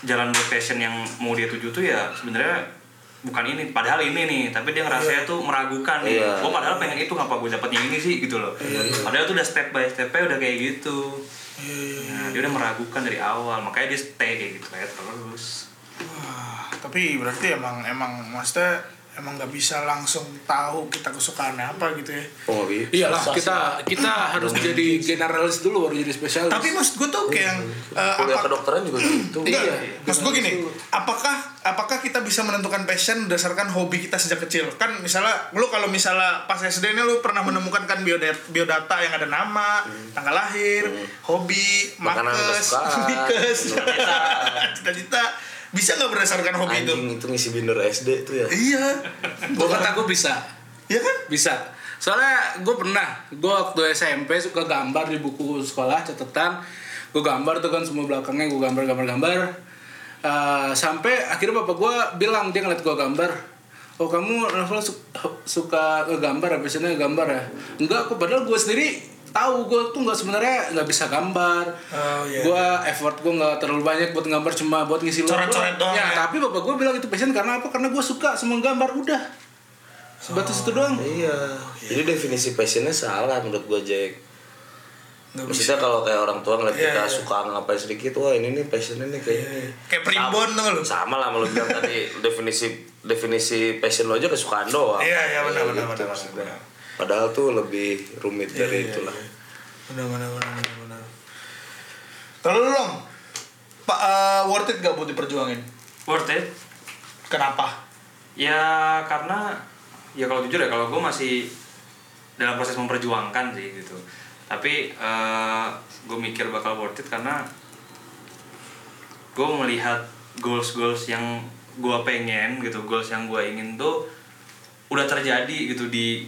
[SPEAKER 5] jalan buat passion yang mau dia tuju tuh ya sebenarnya bukan ini padahal ini nih tapi dia ngerasa tuh meragukan nih
[SPEAKER 4] Iya.
[SPEAKER 5] gue padahal pengen itu ngapa gue dapatnya ini sih gitu loh padahal tuh udah step by stepnya udah kayak gitu nah, dia udah meragukan dari awal makanya dia stay kayak gitu kayak terus
[SPEAKER 2] Wah, Ah, tapi berarti emang emang maksudnya emang nggak bisa langsung tahu kita kesukaannya apa gitu ya.
[SPEAKER 4] oh nggak bisa.
[SPEAKER 3] iyalah
[SPEAKER 4] Susah sih.
[SPEAKER 3] kita kita harus jadi generalis dulu baru jadi spesialis
[SPEAKER 2] Tapi maksud gue tuh kayak yang eh,
[SPEAKER 4] kuliah
[SPEAKER 2] apa-
[SPEAKER 4] kedokteran juga gitu
[SPEAKER 2] Enggak,
[SPEAKER 3] Iya.
[SPEAKER 2] maksud gue gini, apakah apakah kita bisa menentukan passion berdasarkan hobi kita sejak kecil? Kan misalnya, lu kalau misalnya pas SD ini lu pernah menemukan kan biodata, biodata yang ada nama, tanggal lahir, hobi,
[SPEAKER 4] Hmm. Makanan
[SPEAKER 2] makes,
[SPEAKER 4] kesukaan,
[SPEAKER 2] mikes,
[SPEAKER 4] cita-cita.
[SPEAKER 2] cita-cita, bisa nggak berdasarkan hobi itu?
[SPEAKER 4] anjing itu ngisi binder SD itu ya
[SPEAKER 2] Iya,
[SPEAKER 3] gue kata gue bisa
[SPEAKER 2] iya kan?
[SPEAKER 3] bisa soalnya gue pernah gue waktu SMP suka gambar di buku sekolah catatan gue gambar tuh kan semua belakangnya gue gambar gambar gambar Eh, sampai akhirnya bapak gue bilang dia ngeliat gue gambar oh kamu level suka gambar apa sini gambar ya enggak aku padahal gue sendiri tahu gue tuh nggak sebenarnya nggak bisa gambar
[SPEAKER 2] Oh, iya.
[SPEAKER 3] gue effort gue nggak terlalu banyak buat gambar cuma buat ngisi luar
[SPEAKER 2] Coret-coret doang
[SPEAKER 3] doang. ya,
[SPEAKER 2] ya.
[SPEAKER 3] tapi bapak gue bilang itu passion karena apa karena gue suka sama gambar udah sebatas itu doang
[SPEAKER 4] Iya.
[SPEAKER 2] Oh,
[SPEAKER 4] Jadi definisi passionnya salah menurut gua Jack. Maksudnya kalau kayak orang tua ngeliat
[SPEAKER 2] Iya,
[SPEAKER 4] kita
[SPEAKER 2] iya.
[SPEAKER 4] suka ngapain sedikit, wah ini nih passionnya nih kayaknya. nih.
[SPEAKER 2] Kayak primbon tuh lu.
[SPEAKER 4] Sama lah menurut bilang tadi definisi definisi passion lo aja kesukaan doang.
[SPEAKER 2] Iya, iya, benar,
[SPEAKER 4] Kayak
[SPEAKER 2] benar,
[SPEAKER 4] gitu
[SPEAKER 2] benar,
[SPEAKER 4] maksudnya.
[SPEAKER 2] benar.
[SPEAKER 4] Padahal tuh lebih rumit dari
[SPEAKER 2] iya,
[SPEAKER 4] itulah.
[SPEAKER 2] iya. Benar, benar, benar, benar, benar. Kalau lu, Long, Pak, eh, worth it gak buat diperjuangin?
[SPEAKER 5] worth it
[SPEAKER 2] Kenapa?
[SPEAKER 5] Ya karena ya kalau jujur ya kalau gue masih dalam proses memperjuangkan sih gitu. Tapi gue mikir bakal worth it karena gue melihat goals-goals yang gue pengen gitu, goals yang gue ingin tuh udah terjadi gitu di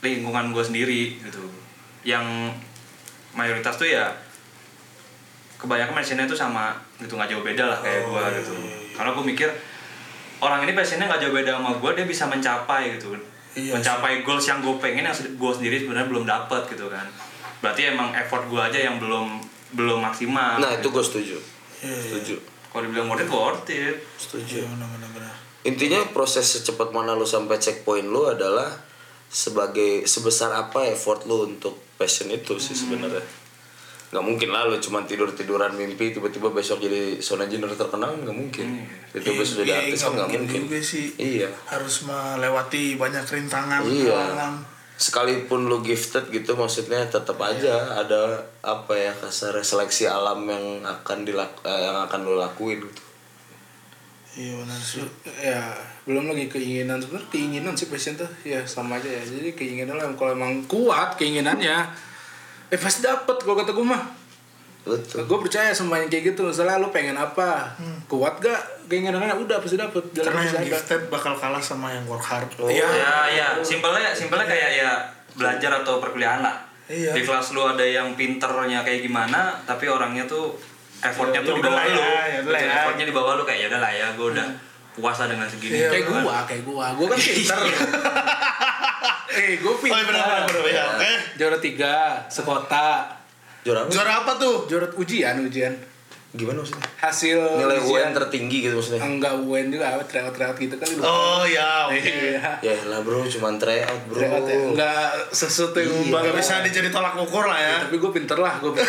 [SPEAKER 5] lingkungan gue sendiri gitu. Yang mayoritas tuh ya kebanyakan mentionnya tuh sama gitu nggak jauh beda lah kayak gue gitu. Karena gue mikir orang ini passionnya nggak jauh beda sama gue dia bisa mencapai gitu
[SPEAKER 2] Iya,
[SPEAKER 5] mencapai goals yang gue pengen yang gue sendiri sebenarnya belum dapat gitu kan berarti emang effort gue aja yang belum belum maksimal
[SPEAKER 4] Nah itu
[SPEAKER 5] gitu.
[SPEAKER 4] gue setuju.
[SPEAKER 2] Iya, iya.
[SPEAKER 4] Setuju.
[SPEAKER 5] kalau dibilang worth it worth it
[SPEAKER 4] Setuju.
[SPEAKER 2] Iya, benar, benar, benar.
[SPEAKER 4] Intinya proses secepat mana lu sampai checkpoint lu adalah sebagai sebesar apa effort lu untuk passion itu sih
[SPEAKER 2] Hmm.
[SPEAKER 4] sebenarnya. Nggak mungkin lah lu cuma tidur-tiduran mimpi tiba-tiba besok jadi sound engineer terkenal nggak mungkin. Itu
[SPEAKER 2] Iya,
[SPEAKER 4] besok jadi
[SPEAKER 2] iya,
[SPEAKER 4] artis
[SPEAKER 2] nggak
[SPEAKER 4] kan nggak
[SPEAKER 2] mungkin
[SPEAKER 4] mungkin.
[SPEAKER 2] juga sih.
[SPEAKER 4] Iya.
[SPEAKER 2] harus melewati banyak rintangan
[SPEAKER 4] Iya.
[SPEAKER 2] halangan.
[SPEAKER 4] Sekalipun lu gifted gitu maksudnya tetap
[SPEAKER 2] Iya.
[SPEAKER 4] aja ada apa ya kasar seleksi alam yang akan dilak eh, yang akan lu lakuin gitu.
[SPEAKER 2] iya benar sih
[SPEAKER 3] ya belum lagi keinginan sebenarnya keinginan sih passion tuh ya sama aja ya jadi keinginan lah kalau emang kuat keinginannya eh pasti dapet kalau kata gue mah
[SPEAKER 4] Betul.
[SPEAKER 3] gue percaya sama yang kayak gitu misalnya lu pengen apa kuat gak keinginannya udah pasti dapet jalan
[SPEAKER 2] karena
[SPEAKER 3] pasti
[SPEAKER 2] yang
[SPEAKER 3] ada
[SPEAKER 2] gifted bakal kalah sama yang work hard Iya.
[SPEAKER 5] ya ya simpelnya simpelnya kayak ya belajar atau perkuliahan lah
[SPEAKER 2] Iya.
[SPEAKER 5] di kelas lu ada yang pinternya kayak gimana tapi orangnya tuh effortnya
[SPEAKER 2] Ya
[SPEAKER 5] tuh di
[SPEAKER 2] udah
[SPEAKER 5] bawah
[SPEAKER 2] lah ya,
[SPEAKER 5] lu
[SPEAKER 2] ya udah
[SPEAKER 5] Gitu,
[SPEAKER 2] lah ya. Hmm.
[SPEAKER 5] effortnya di bawah lu kayak ya udah lah ya gue udah puas lah dengan segini
[SPEAKER 2] Iya.
[SPEAKER 3] kayak gua kayak gua gua kan pinter eh gue
[SPEAKER 2] oh iya benar benar
[SPEAKER 3] pinter
[SPEAKER 2] benar ya oke
[SPEAKER 3] juara tiga sekota
[SPEAKER 4] Juara apa?
[SPEAKER 2] juara apa tuh
[SPEAKER 3] juara ujian ujian
[SPEAKER 4] gimana maksudnya
[SPEAKER 3] hasil
[SPEAKER 4] nilai
[SPEAKER 2] Oh, iya.
[SPEAKER 3] ujian.
[SPEAKER 4] UN tertinggi gitu maksudnya
[SPEAKER 3] enggak UN juga apa tryout-tryout gitu kan lu.
[SPEAKER 2] Oh ya, oke.
[SPEAKER 3] iya
[SPEAKER 4] ya lah bro cuman tryout bro
[SPEAKER 3] tryout ya enggak sesuatu yang
[SPEAKER 2] Gak
[SPEAKER 3] membanggakan
[SPEAKER 2] Iya. bisa dijadi tolak ukur lah ya.
[SPEAKER 3] tapi gue pinter lah gue
[SPEAKER 4] Nah,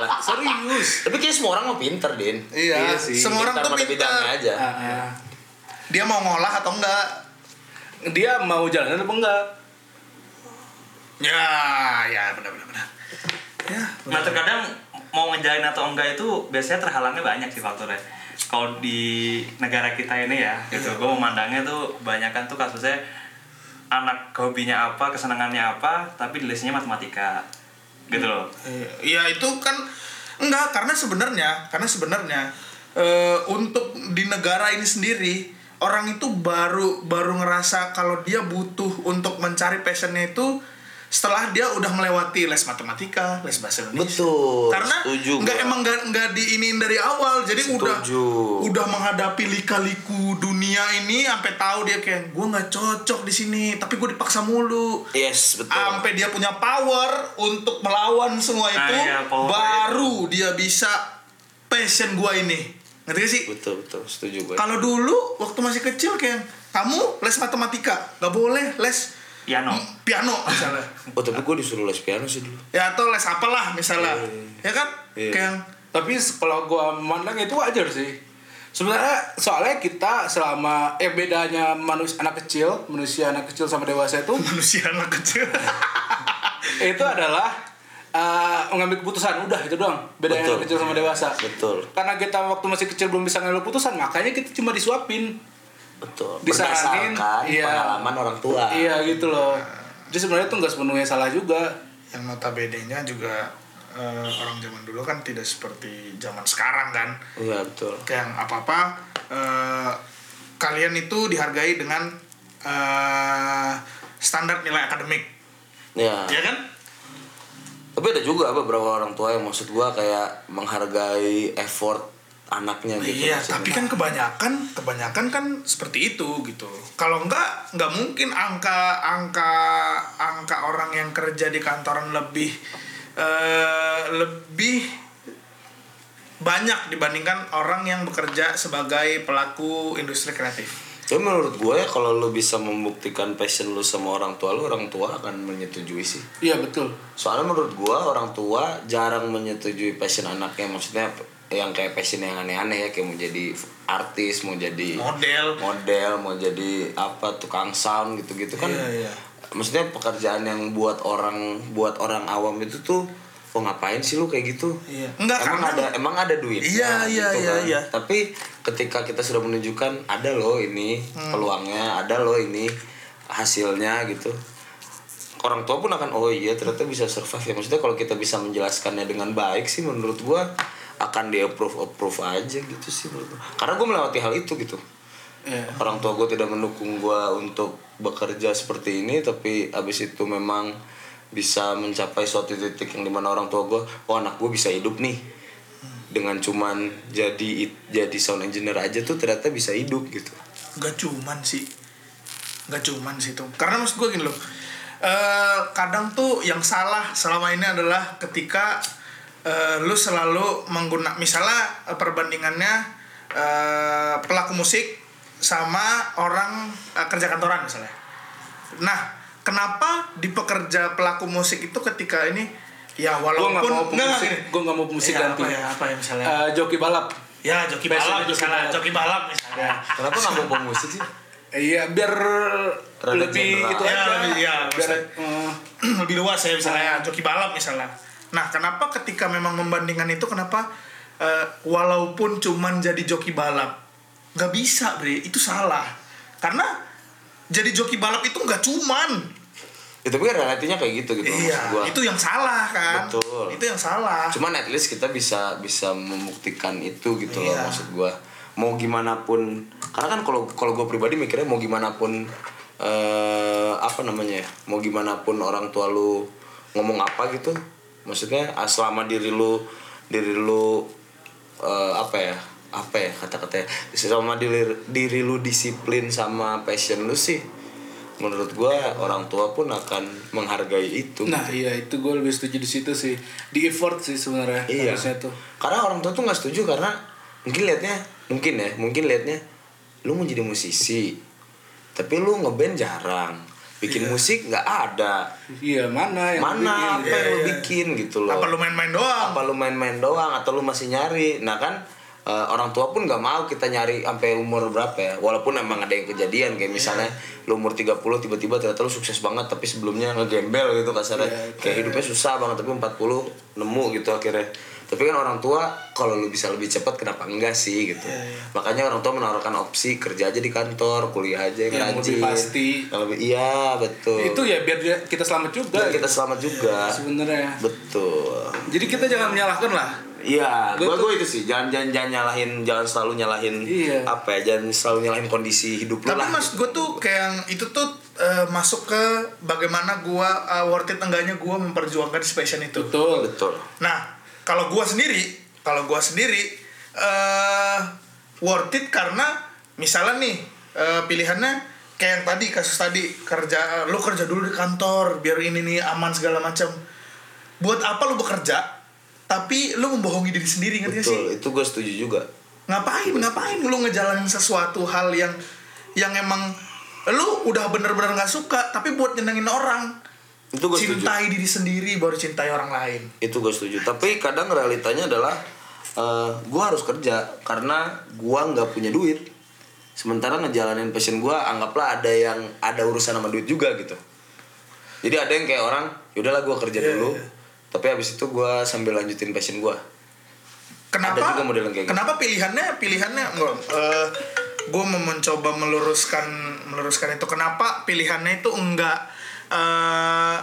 [SPEAKER 4] Oke lah.
[SPEAKER 3] serius
[SPEAKER 4] tapi kayaknya semua orang mau pinter din
[SPEAKER 2] Iya,
[SPEAKER 3] Iya sih.
[SPEAKER 2] semua orang tuh
[SPEAKER 4] pada bidangnya
[SPEAKER 2] pintar.
[SPEAKER 4] aja
[SPEAKER 3] Ah, ah.
[SPEAKER 2] Dia mau ngolah atau enggak?
[SPEAKER 3] dia mau jalan apa enggak
[SPEAKER 2] Ya, ya benar-benar. Ya,
[SPEAKER 5] Nah terkadang mau ngejalanin atau enggak itu biasanya terhalangnya banyak sih faktornya. Kalau di negara kita ini ya, gitu,
[SPEAKER 2] Iya.
[SPEAKER 5] gue memandangnya tuh kebanyakan tuh kasusnya anak hobinya apa, kesenangannya apa, tapi listnya matematika, gitu loh.
[SPEAKER 2] ya itu kan enggak karena sebenarnya karena sebenarnya eh, untuk di negara ini sendiri orang itu baru baru ngerasa kalau dia butuh untuk mencari passionnya itu setelah dia udah melewati les matematika les bahasa Indonesia
[SPEAKER 4] betul
[SPEAKER 2] karena
[SPEAKER 4] setuju
[SPEAKER 2] nggak
[SPEAKER 4] gua.
[SPEAKER 2] emang nggak nggak diinin dari awal jadi udah
[SPEAKER 4] Setuju.
[SPEAKER 2] udah menghadapi lika-liku dunia ini sampai tahu dia kayak gue nggak cocok di sini tapi gue dipaksa mulu
[SPEAKER 4] yes betul
[SPEAKER 2] sampai dia punya power untuk melawan semua
[SPEAKER 5] Ah,
[SPEAKER 2] itu
[SPEAKER 5] iya, power
[SPEAKER 2] baru dia bisa passion gua ini ngerti gak sih
[SPEAKER 4] betul betul setuju gue
[SPEAKER 2] kalau dulu waktu masih kecil kayak kamu les matematika nggak boleh les
[SPEAKER 5] Piano.
[SPEAKER 2] mm, piano misalnya
[SPEAKER 4] oh tapi gue disuruh les piano sih dulu
[SPEAKER 2] ya atau les apalah misalnya ya kan
[SPEAKER 4] Iya.
[SPEAKER 2] kayak
[SPEAKER 3] tapi se- kalau gua mandang itu wajar sih sebenarnya soalnya kita selama eh bedanya manusia anak kecil manusia anak kecil sama dewasa itu
[SPEAKER 2] manusia anak kecil
[SPEAKER 3] itu adalah eh, mengambil keputusan udah itu doang bedanya
[SPEAKER 4] Betul. Iya,
[SPEAKER 3] anak kecil sama dewasa
[SPEAKER 4] Betul.
[SPEAKER 3] karena kita waktu masih kecil belum bisa ngambil keputusan makanya kita cuma disuapin
[SPEAKER 4] betul
[SPEAKER 3] Disaranin,
[SPEAKER 4] berdasarkan
[SPEAKER 3] iya.
[SPEAKER 4] pengalaman orang tua
[SPEAKER 3] iya gitu loh jadi sebenarnya itu nggak sepenuhnya salah juga
[SPEAKER 2] yang notabene-nya juga eh, orang zaman dulu kan tidak seperti zaman sekarang kan
[SPEAKER 4] iya betul
[SPEAKER 2] kayak yang apa-apa eh, kalian itu dihargai dengan eh, standar nilai akademik,
[SPEAKER 4] ya
[SPEAKER 2] ya kan?
[SPEAKER 4] tapi ada juga beberapa orang tua yang maksud gua kayak menghargai effort anaknya gitu
[SPEAKER 2] Iya,
[SPEAKER 4] maksudnya.
[SPEAKER 2] tapi kan kebanyakan kebanyakan kan seperti itu gitu. Kalau enggak nggak mungkin angka angka angka orang yang kerja di kantoran lebih eh, lebih banyak dibandingkan orang yang bekerja sebagai pelaku industri kreatif.
[SPEAKER 4] Tapi menurut gue ya kalau lu bisa membuktikan passion lu sama orang tua lu, orang tua akan menyetujui sih.
[SPEAKER 3] iya betul
[SPEAKER 4] Soalnya menurut gue orang tua jarang menyetujui passion anaknya. Maksudnya yang kayak passion yang aneh-aneh ya kayak mau jadi artis, mau jadi
[SPEAKER 2] Model.
[SPEAKER 4] model, mau jadi apa tukang sound gitu-gitu kan.
[SPEAKER 2] Iya, iya.
[SPEAKER 4] Maksudnya pekerjaan yang buat orang buat orang awam itu tuh Oh ngapain sih lu kayak gitu?
[SPEAKER 2] Iya. Enggak,
[SPEAKER 4] emang
[SPEAKER 2] karena-
[SPEAKER 4] ada emang ada duit.
[SPEAKER 2] Iya, iya, iya, iya.
[SPEAKER 4] gitu kan. Tapi ketika kita sudah menunjukkan ada loh ini
[SPEAKER 2] Hmm.
[SPEAKER 4] peluangnya, ada loh ini hasilnya gitu. Orang tua pun akan oh iya ternyata bisa survive ya. Maksudnya kalau kita bisa menjelaskannya dengan baik sih menurut gua akan di approve approve aja gitu sih menurut gua. Karena gua melewati hal itu gitu.
[SPEAKER 3] Iya.
[SPEAKER 4] Orang tua gua tidak mendukung gua untuk bekerja seperti ini tapi abis itu memang bisa mencapai suatu titik yang dimana orang tua gua oh anak gua bisa hidup nih dengan cuman jadi jadi sound engineer aja tuh ternyata bisa hidup gitu
[SPEAKER 2] nggak cuman sih nggak cuman sih tuh karena maksud gue gini loh eh, kadang tuh yang salah selama ini adalah ketika eh, lu selalu menggunakan misalnya eh, perbandingannya eh, pelaku musik sama orang eh, kerja kantoran misalnya nah kenapa di pekerja pelaku musik itu ketika ini ya
[SPEAKER 3] gue
[SPEAKER 2] walaupun
[SPEAKER 3] nggak mau
[SPEAKER 2] Nggak, nggak,
[SPEAKER 3] pemusik
[SPEAKER 2] gini.
[SPEAKER 3] gue nggak mau pemusik
[SPEAKER 2] Ya, apa
[SPEAKER 3] ganti
[SPEAKER 2] ya, apa ya misalnya?
[SPEAKER 3] Eh, joki balap
[SPEAKER 2] ya joki
[SPEAKER 3] Biasanya
[SPEAKER 2] balap
[SPEAKER 3] joki
[SPEAKER 2] misalnya
[SPEAKER 3] balap.
[SPEAKER 2] joki balap misalnya
[SPEAKER 4] kenapa nggak mau pemusik sih
[SPEAKER 3] Iya, biar
[SPEAKER 4] Rada
[SPEAKER 3] lebih
[SPEAKER 4] general.
[SPEAKER 3] gitu
[SPEAKER 2] Ya,
[SPEAKER 3] aja.
[SPEAKER 2] lebih- ya,
[SPEAKER 3] biar,
[SPEAKER 2] maksudnya.
[SPEAKER 3] eh,
[SPEAKER 2] lebih luas ya
[SPEAKER 4] Ah.
[SPEAKER 2] misalnya joki balap misalnya nah kenapa ketika memang membandingkan itu kenapa eh, walaupun cuman jadi joki balap nggak bisa bre itu salah karena jadi joki balap itu nggak cuman
[SPEAKER 4] ya, tapi kan realitinya kayak gitu gitu loh,
[SPEAKER 2] iya
[SPEAKER 4] maksud gua.
[SPEAKER 2] itu yang salah kan
[SPEAKER 4] Betul.
[SPEAKER 2] itu yang salah
[SPEAKER 4] cuman at least kita bisa bisa membuktikan itu gitu loh
[SPEAKER 2] Iya.
[SPEAKER 4] maksud gua mau gimana pun karena kan kalau kalau gue pribadi mikirnya mau gimana pun eh, apa namanya ya, mau gimana pun orang tua lu ngomong apa gitu maksudnya ah, selama diri lu diri lu eh, apa ya apa ya kata-katanya selama diri diri lu disiplin sama passion lu sih menurut gua orang tua pun akan menghargai itu
[SPEAKER 3] Nah iya itu gue lebih setuju di situ sih di effort sih sebenarnya
[SPEAKER 4] iya
[SPEAKER 3] harusnya tuh.
[SPEAKER 4] karena orang tua tuh nggak setuju karena mungkin liatnya mungkin ya mungkin liatnya lu mau jadi musisi tapi lu ngeband jarang bikin musik nggak ada
[SPEAKER 3] Iya mana Iya. yang
[SPEAKER 4] mana apa yang
[SPEAKER 3] bikin?
[SPEAKER 4] lu
[SPEAKER 2] Iya, iya.
[SPEAKER 4] bikin gitu loh
[SPEAKER 2] Apa lu main-main doang?
[SPEAKER 4] apa lu main-main doang atau lu masih nyari nah kan eh, orang tua pun nggak mau kita nyari sampai umur berapa ya walaupun emang ada yang kejadian kayak misalnya
[SPEAKER 3] Iya.
[SPEAKER 4] lu umur 30 tiba-tiba ternyata lu sukses banget tapi sebelumnya ngegembel gitu kasarnya
[SPEAKER 3] Iya,
[SPEAKER 4] kayak hidupnya susah banget tapi 40 nemu gitu akhirnya tapi kan orang tua kalau lu bisa lebih cepat kenapa enggak sih gitu
[SPEAKER 3] Iya,
[SPEAKER 4] makanya orang tua menawarkan opsi kerja aja di kantor kuliah aja yang,
[SPEAKER 3] Iya, Yang lebih
[SPEAKER 4] rajin.
[SPEAKER 3] pasti.
[SPEAKER 4] Yang lebih- iya betul
[SPEAKER 3] Itu ya biar dia- kita selamat juga.
[SPEAKER 4] Dan kita selamat juga
[SPEAKER 3] sebenarnya.
[SPEAKER 4] betul
[SPEAKER 3] Jadi kita jangan menyalahkan lah.
[SPEAKER 4] Iya,
[SPEAKER 3] Gua
[SPEAKER 4] gua
[SPEAKER 3] tuh-
[SPEAKER 4] gua itu sih jangan jangan jangan nyalahin, jangan selalu nyalahin
[SPEAKER 3] Iya.
[SPEAKER 4] apa ya, jangan selalu nyalahin kondisi hidup lu
[SPEAKER 2] Tapi
[SPEAKER 4] lah.
[SPEAKER 2] mas gue tuh kayak yang itu tuh eh, masuk ke bagaimana gue worth it enggaknya gue memperjuangkan si passion itu.
[SPEAKER 3] Betul.
[SPEAKER 4] Betul.
[SPEAKER 2] Nah, kalau gua sendiri, kalau gua sendiri eh worth it karena misalnya nih eh, pilihannya kayak yang tadi kasus tadi kerja lu kerja dulu di kantor biar ini nih aman segala macam. Buat apa lu bekerja? Tapi lu membohongi diri sendiri ngerti gak Iya sih?
[SPEAKER 4] Betul, itu gua setuju juga.
[SPEAKER 2] Ngapain ngapain lu ngejalanin sesuatu hal yang yang emang lu udah bener-bener nggak suka tapi buat nyenengin orang.
[SPEAKER 4] Itu gua setuju.
[SPEAKER 2] Cintai diri sendiri baru cintai orang lain.
[SPEAKER 4] Itu gua setuju. Tapi kadang realitanya adalah eh, gua harus kerja karena gua nggak punya duit. Sementara ngejalanin passion gua anggaplah ada yang ada urusan sama duit juga gitu. Jadi ada yang kayak orang, yaudahlah gua kerja dulu. Tapi habis itu gua sambil lanjutin passion gua.
[SPEAKER 2] kenapa
[SPEAKER 4] Ada juga model yang kayak gitu.
[SPEAKER 2] kenapa pilihannya pilihannya gue mau mencoba meluruskan meluruskan itu kenapa pilihannya itu enggak eh,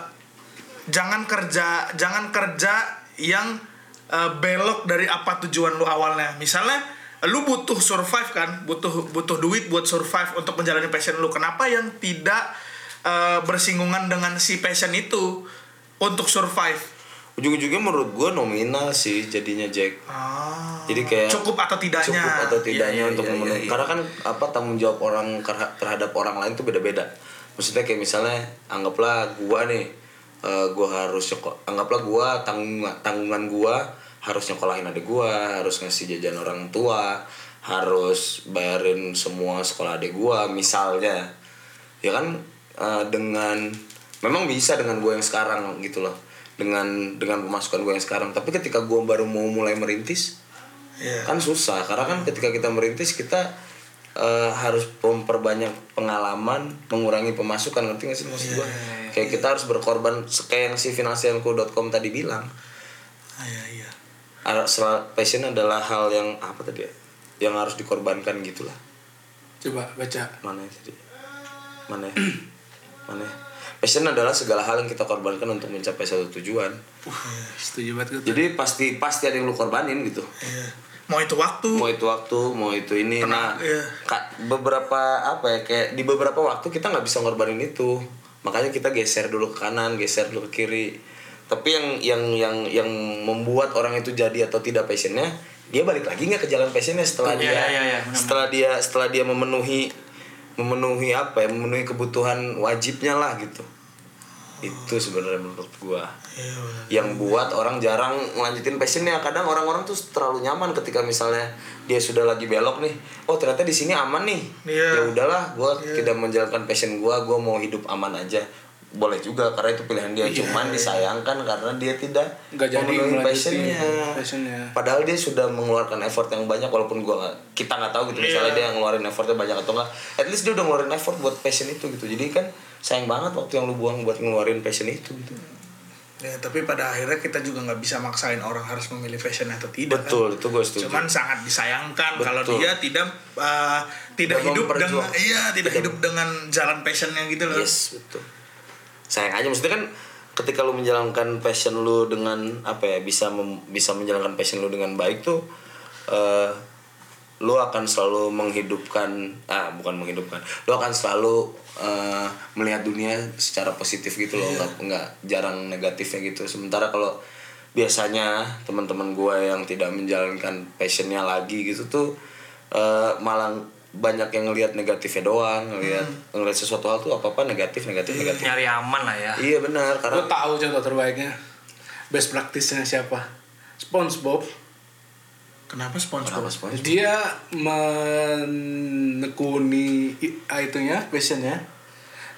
[SPEAKER 2] jangan kerja jangan kerja yang eh, belok dari apa tujuan lu awalnya misalnya lu butuh survive kan butuh butuh duit buat survive untuk menjalani passion lu kenapa yang tidak eh, bersinggungan dengan si passion itu untuk survive
[SPEAKER 4] Ujung-ujungnya menurut gua nominal sih jadinya Jack.
[SPEAKER 2] Ah.
[SPEAKER 4] Jadi kayak
[SPEAKER 2] cukup atau tidaknya
[SPEAKER 4] cukup atau tidaknya
[SPEAKER 5] Iya, iya,
[SPEAKER 4] untuk
[SPEAKER 5] iya,
[SPEAKER 4] memenuhi
[SPEAKER 5] iya, iya.
[SPEAKER 4] karena kan apa tanggung jawab orang kerha- terhadap orang lain tuh beda-beda maksudnya kayak misalnya anggaplah gua nih eh, gua harus nyeko- anggaplah gua tanggungan tanggungan gua harus nyekolahin adik gua harus ngasih jajan orang tua harus bayarin semua sekolah adik gua misalnya ya kan eh, dengan memang bisa dengan gua yang sekarang gitu loh dengan dengan pemasukan gua yang sekarang tapi ketika gua baru mau mulai merintis
[SPEAKER 2] Iya.
[SPEAKER 4] kan susah karena kan ketika kita merintis kita eh, harus memperbanyak pengalaman mengurangi pemasukan ngerti nggak sih maksud gua kayak kita harus berkorban se- kayak yang si finansialku.com tadi bilang
[SPEAKER 2] Ah, iya iya
[SPEAKER 4] Ar- sel- passion adalah hal yang apa tadi ya? yang harus dikorbankan gitulah
[SPEAKER 3] Coba baca.
[SPEAKER 4] mana ya tadi mana ya? mana ya? passion adalah segala hal yang kita korbankan untuk mencapai satu tujuan
[SPEAKER 3] Setuju banget gue. tuh.
[SPEAKER 4] jadi pasti pasti ada yang lu korbanin gitu
[SPEAKER 2] Iya. Mau itu waktu.
[SPEAKER 4] mau itu waktu mau itu ini nah
[SPEAKER 2] Tenang, iya.
[SPEAKER 4] ka- beberapa apa ya kayak di beberapa waktu kita nggak bisa ngorbanin itu makanya kita geser dulu ke kanan geser dulu ke kiri tapi yang yang yang yang membuat orang itu jadi atau tidak passionnya dia balik lagi nggak ke jalan passionnya setelah
[SPEAKER 5] Iya,
[SPEAKER 4] dia
[SPEAKER 5] iya, iya, iya, benar.
[SPEAKER 4] setelah dia setelah dia memenuhi memenuhi apa ya memenuhi kebutuhan wajibnya lah gitu itu sebenarnya menurut gua yang buat orang jarang ngelanjutin passionnya kadang orang-orang tuh terlalu nyaman ketika misalnya dia sudah lagi belok nih oh ternyata di sini aman nih
[SPEAKER 2] Iya.
[SPEAKER 4] ya udahlah gua tidak menjalankan passion gua gua mau hidup aman aja boleh juga karena itu pilihan dia cuman disayangkan karena dia tidak
[SPEAKER 3] Nggak jadi
[SPEAKER 4] memenuhi
[SPEAKER 3] melanjutin
[SPEAKER 4] passionnya.
[SPEAKER 3] passionnya.
[SPEAKER 4] padahal dia sudah mengeluarkan effort yang banyak walaupun gua nggak- kita nggak tahu
[SPEAKER 2] Iya.
[SPEAKER 4] gitu misalnya dia ngeluarin effortnya banyak atau enggak at least dia udah ngeluarin effort buat passion itu gitu jadi kan sayang banget waktu yang lu buang buat ngeluarin passion itu gitu
[SPEAKER 2] Ya, tapi pada akhirnya kita juga nggak bisa maksain orang harus memilih fashion atau tidak. kan?
[SPEAKER 4] betul itu gue setuju
[SPEAKER 2] Cuman sangat disayangkan kalau
[SPEAKER 4] Betul.
[SPEAKER 2] dia tidak eh, tidak
[SPEAKER 4] Tidak
[SPEAKER 2] hidup dengan
[SPEAKER 4] memperjuang.
[SPEAKER 2] iya tidak
[SPEAKER 4] Tidak.
[SPEAKER 2] hidup dengan jalan passionnya gitu loh.
[SPEAKER 4] Yes, betul. Sayang aja maksudnya kan ketika lu menjalankan passion lu dengan apa ya bisa mem- bisa menjalankan passion lu dengan baik tuh eh lu akan selalu menghidupkan ah bukan menghidupkan lu akan selalu eh, melihat dunia secara positif gitu loh nggak nggak jarang negatifnya gitu sementara kalau biasanya teman-teman gue yang tidak menjalankan passionnya lagi gitu tuh eh, malah banyak yang ngelihat negatifnya doang ngelihat ngelihat sesuatu hal tuh apa apa negatif negatif negatif
[SPEAKER 5] nyari aman lah ya
[SPEAKER 4] iya benar
[SPEAKER 3] Gue
[SPEAKER 4] karena
[SPEAKER 3] tahu contoh terbaiknya. Best practice-nya siapa? SpongeBob.
[SPEAKER 2] Kenapa SpongeBob?
[SPEAKER 4] kenapa SpongeBob?
[SPEAKER 3] Dia menekuni i- ah, itunya, passionnya.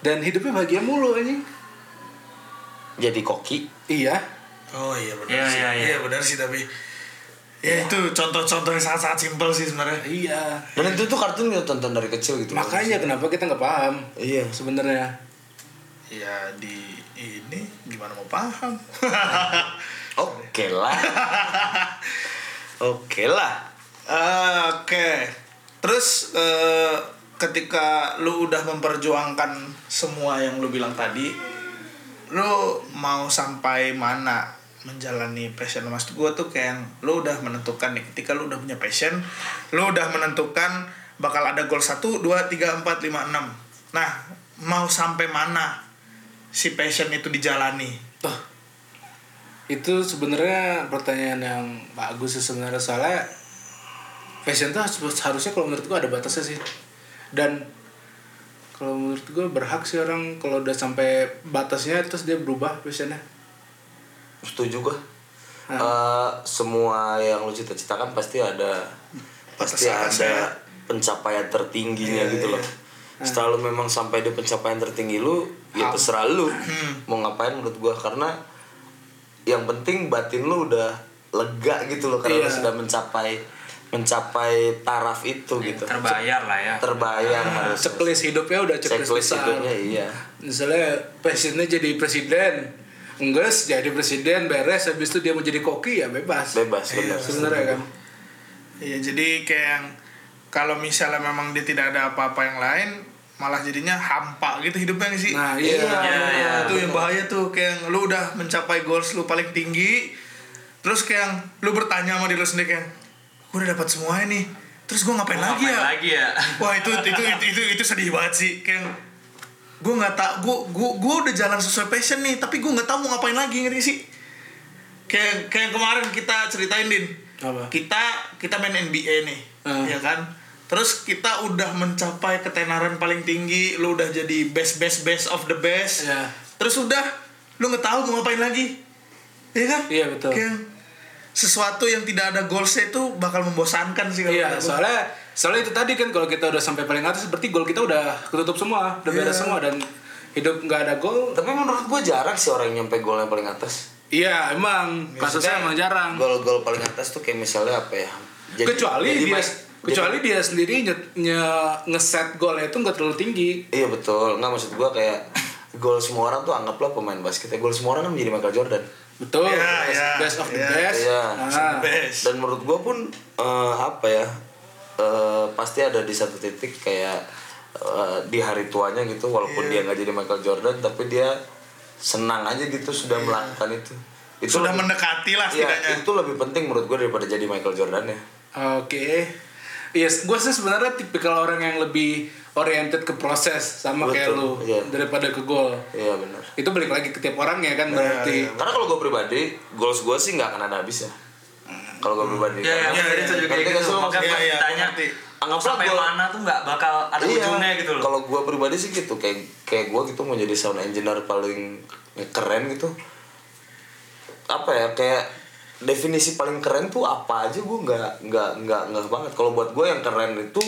[SPEAKER 3] Dan hidupnya bahagia mulu anjing.
[SPEAKER 4] jadi koki
[SPEAKER 3] Iya.
[SPEAKER 2] Oh iya benar
[SPEAKER 5] Iya,
[SPEAKER 2] sih.
[SPEAKER 5] iya, iya.
[SPEAKER 2] benar sih tapi ya itu contoh-contoh yang sangat-sangat simpel sih sebenarnya.
[SPEAKER 3] Iya.
[SPEAKER 4] dan itu tuh kartun kita tonton dari kecil gitu
[SPEAKER 3] Makanya kenapa kita nggak paham
[SPEAKER 4] iya
[SPEAKER 3] sebenarnya.
[SPEAKER 2] Ya di ini gimana mau paham?
[SPEAKER 4] oke lah oke lah
[SPEAKER 2] Ah, Oke. Terus eh, ketika lu udah memperjuangkan semua yang lu bilang tadi, lu mau sampai mana menjalani passion lu? maksud gua tuh kayak yang lu udah menentukan nih ketika lu udah punya passion, lu udah menentukan bakal ada goal 1 2 3 4 5 6. Nah, mau sampai mana si passion itu dijalani?
[SPEAKER 3] Tuh. Itu sebenarnya pertanyaan yang bagus sih sebenarnya soalnya fashion tuh harus- harusnya kalau menurut gua ada batasnya sih. Dan kalau menurut gua berhak sih orang kalau udah sampai batasnya terus dia berubah fashionnya.
[SPEAKER 4] setuju gua Eh, semua yang lu cita-citakan pasti ada pasti
[SPEAKER 2] Batas atas ya.
[SPEAKER 4] ada pencapaian tertingginya gitu loh setelah lu memang sampai di pencapaian tertinggi lu ya terserah lu mau ngapain menurut gua karena yang penting batin lu udah lega gitu loh karena lu
[SPEAKER 3] Iya.
[SPEAKER 4] sudah mencapai mencapai taraf itu gitu
[SPEAKER 5] terbayar lah ya
[SPEAKER 4] terbayang harus
[SPEAKER 3] Checklist hidupnya udah checklist,
[SPEAKER 4] checklist
[SPEAKER 3] Ah, besar.
[SPEAKER 4] hidupnya iya
[SPEAKER 3] Misalnya passionnya jadi presiden. Enggak jadi presiden beres habis itu dia mau jadi koki ya bebas.
[SPEAKER 4] bebas benar
[SPEAKER 3] Sebenarnya kan.
[SPEAKER 2] Iya, jadi kayak yang kalau misalnya memang dia tidak ada apa-apa yang lain, malah jadinya hampa gitu hidupnya nggak sih.
[SPEAKER 3] Nah,
[SPEAKER 4] Iya,
[SPEAKER 3] iya.
[SPEAKER 5] iya, iya.
[SPEAKER 2] itu yang bahaya tuh kayak yang lu udah mencapai goals lu paling tinggi, terus kayak yang lu bertanya sama diri lu sendiri kayak, gue udah dapat semua ini, terus gue ngapain, lagi ya?
[SPEAKER 5] Ngapain lagi ya
[SPEAKER 2] Wah itu itu itu itu, itu sedih banget sih kayak gue nggak tak gue gue udah jalan sesuai passion nih tapi gue nggak tahu mau ngapain lagi ngerti sih kayak kayak kemarin kita ceritain din
[SPEAKER 3] Apa?
[SPEAKER 2] kita kita main NBA nih
[SPEAKER 3] Hmm.
[SPEAKER 2] ya kan terus kita udah mencapai ketenaran paling tinggi lu udah jadi best best best of the best
[SPEAKER 3] Iya.
[SPEAKER 2] terus udah lu nggak tahu mau ngapain lagi Iya kan
[SPEAKER 3] Iya, betul.
[SPEAKER 2] Kayak sesuatu yang tidak ada goalsnya itu bakal membosankan sih kalau
[SPEAKER 3] Iya,
[SPEAKER 2] menurut gua.
[SPEAKER 4] Gitu.
[SPEAKER 3] soalnya soalnya itu tadi kan kalau kita udah sampai paling atas berarti gol kita udah ketutup semua, udah
[SPEAKER 4] Iya.
[SPEAKER 3] beres semua dan hidup nggak ada gol.
[SPEAKER 4] tapi menurut gua jarang sih orang yang nyampe gol yang paling atas
[SPEAKER 3] Iya, emang kasusnya emang jarang.
[SPEAKER 4] Gol-gol paling atas tuh kayak misalnya apa ya? Jadi-
[SPEAKER 3] kecuali
[SPEAKER 4] jadi
[SPEAKER 3] dia
[SPEAKER 4] main-
[SPEAKER 3] kecuali dia sendiri nyet, nye, ngeset golnya itu nggak terlalu tinggi.
[SPEAKER 4] jadi- iya betul. Nggak maksud gua kayak gol semua orang tuh anggaplah pemain basket ya. Gol semua orang kan menjadi Michael Jordan.
[SPEAKER 3] Betul.
[SPEAKER 2] Iya,
[SPEAKER 3] best,
[SPEAKER 2] iya,
[SPEAKER 3] best of the
[SPEAKER 2] iya.
[SPEAKER 3] best.
[SPEAKER 4] Iya.
[SPEAKER 3] Nah,
[SPEAKER 2] best
[SPEAKER 4] Dan menurut gua pun eh, apa ya? eh, pasti ada di satu titik kayak eh, di hari tuanya gitu walaupun dia
[SPEAKER 3] Iya.
[SPEAKER 4] nggak jadi Michael Jordan tapi dia senang aja gitu sudah
[SPEAKER 3] Iya.
[SPEAKER 4] melakukan itu. Itu
[SPEAKER 2] sudah
[SPEAKER 4] lebih-
[SPEAKER 2] mendekati lah
[SPEAKER 4] Iya,
[SPEAKER 2] setidaknya
[SPEAKER 4] itu lebih penting menurut gua daripada jadi Michael Jordan ya.
[SPEAKER 3] Ah, Oke. Yes, gue sih sebenarnya tipikal orang yang lebih oriented ke proses sama kayak
[SPEAKER 4] Betul,
[SPEAKER 3] lu
[SPEAKER 4] iya.
[SPEAKER 3] daripada ke gol.
[SPEAKER 4] Iya benar.
[SPEAKER 3] Itu balik lagi ke tiap orang ya
[SPEAKER 4] Iya,
[SPEAKER 3] kan berarti.
[SPEAKER 4] Karena kalau gue pribadi, goals gue sih nggak akan ada habis ya. Kalau gue pribadi.
[SPEAKER 5] ya ya
[SPEAKER 4] Karena-
[SPEAKER 5] ya, itu
[SPEAKER 4] Ngerti
[SPEAKER 5] juga kayak
[SPEAKER 4] nggak sih
[SPEAKER 5] gitu
[SPEAKER 4] lo
[SPEAKER 5] makanya
[SPEAKER 4] maksudnya?
[SPEAKER 5] pas
[SPEAKER 2] Iya, iya,
[SPEAKER 5] ditanya
[SPEAKER 2] ngerti.
[SPEAKER 4] Anggaplah
[SPEAKER 5] sampai
[SPEAKER 4] gua-
[SPEAKER 5] mana tuh nggak bakal ada
[SPEAKER 4] Iya.
[SPEAKER 5] ujungnya gitu loh
[SPEAKER 4] Kalau gue pribadi sih gitu, kayak kayak gue gitu mau jadi sound engineer paling keren gitu. Apa ya kayak definisi paling keren tuh apa aja gue nggak nggak nggak nggak banget. Kalau buat gue yang keren itu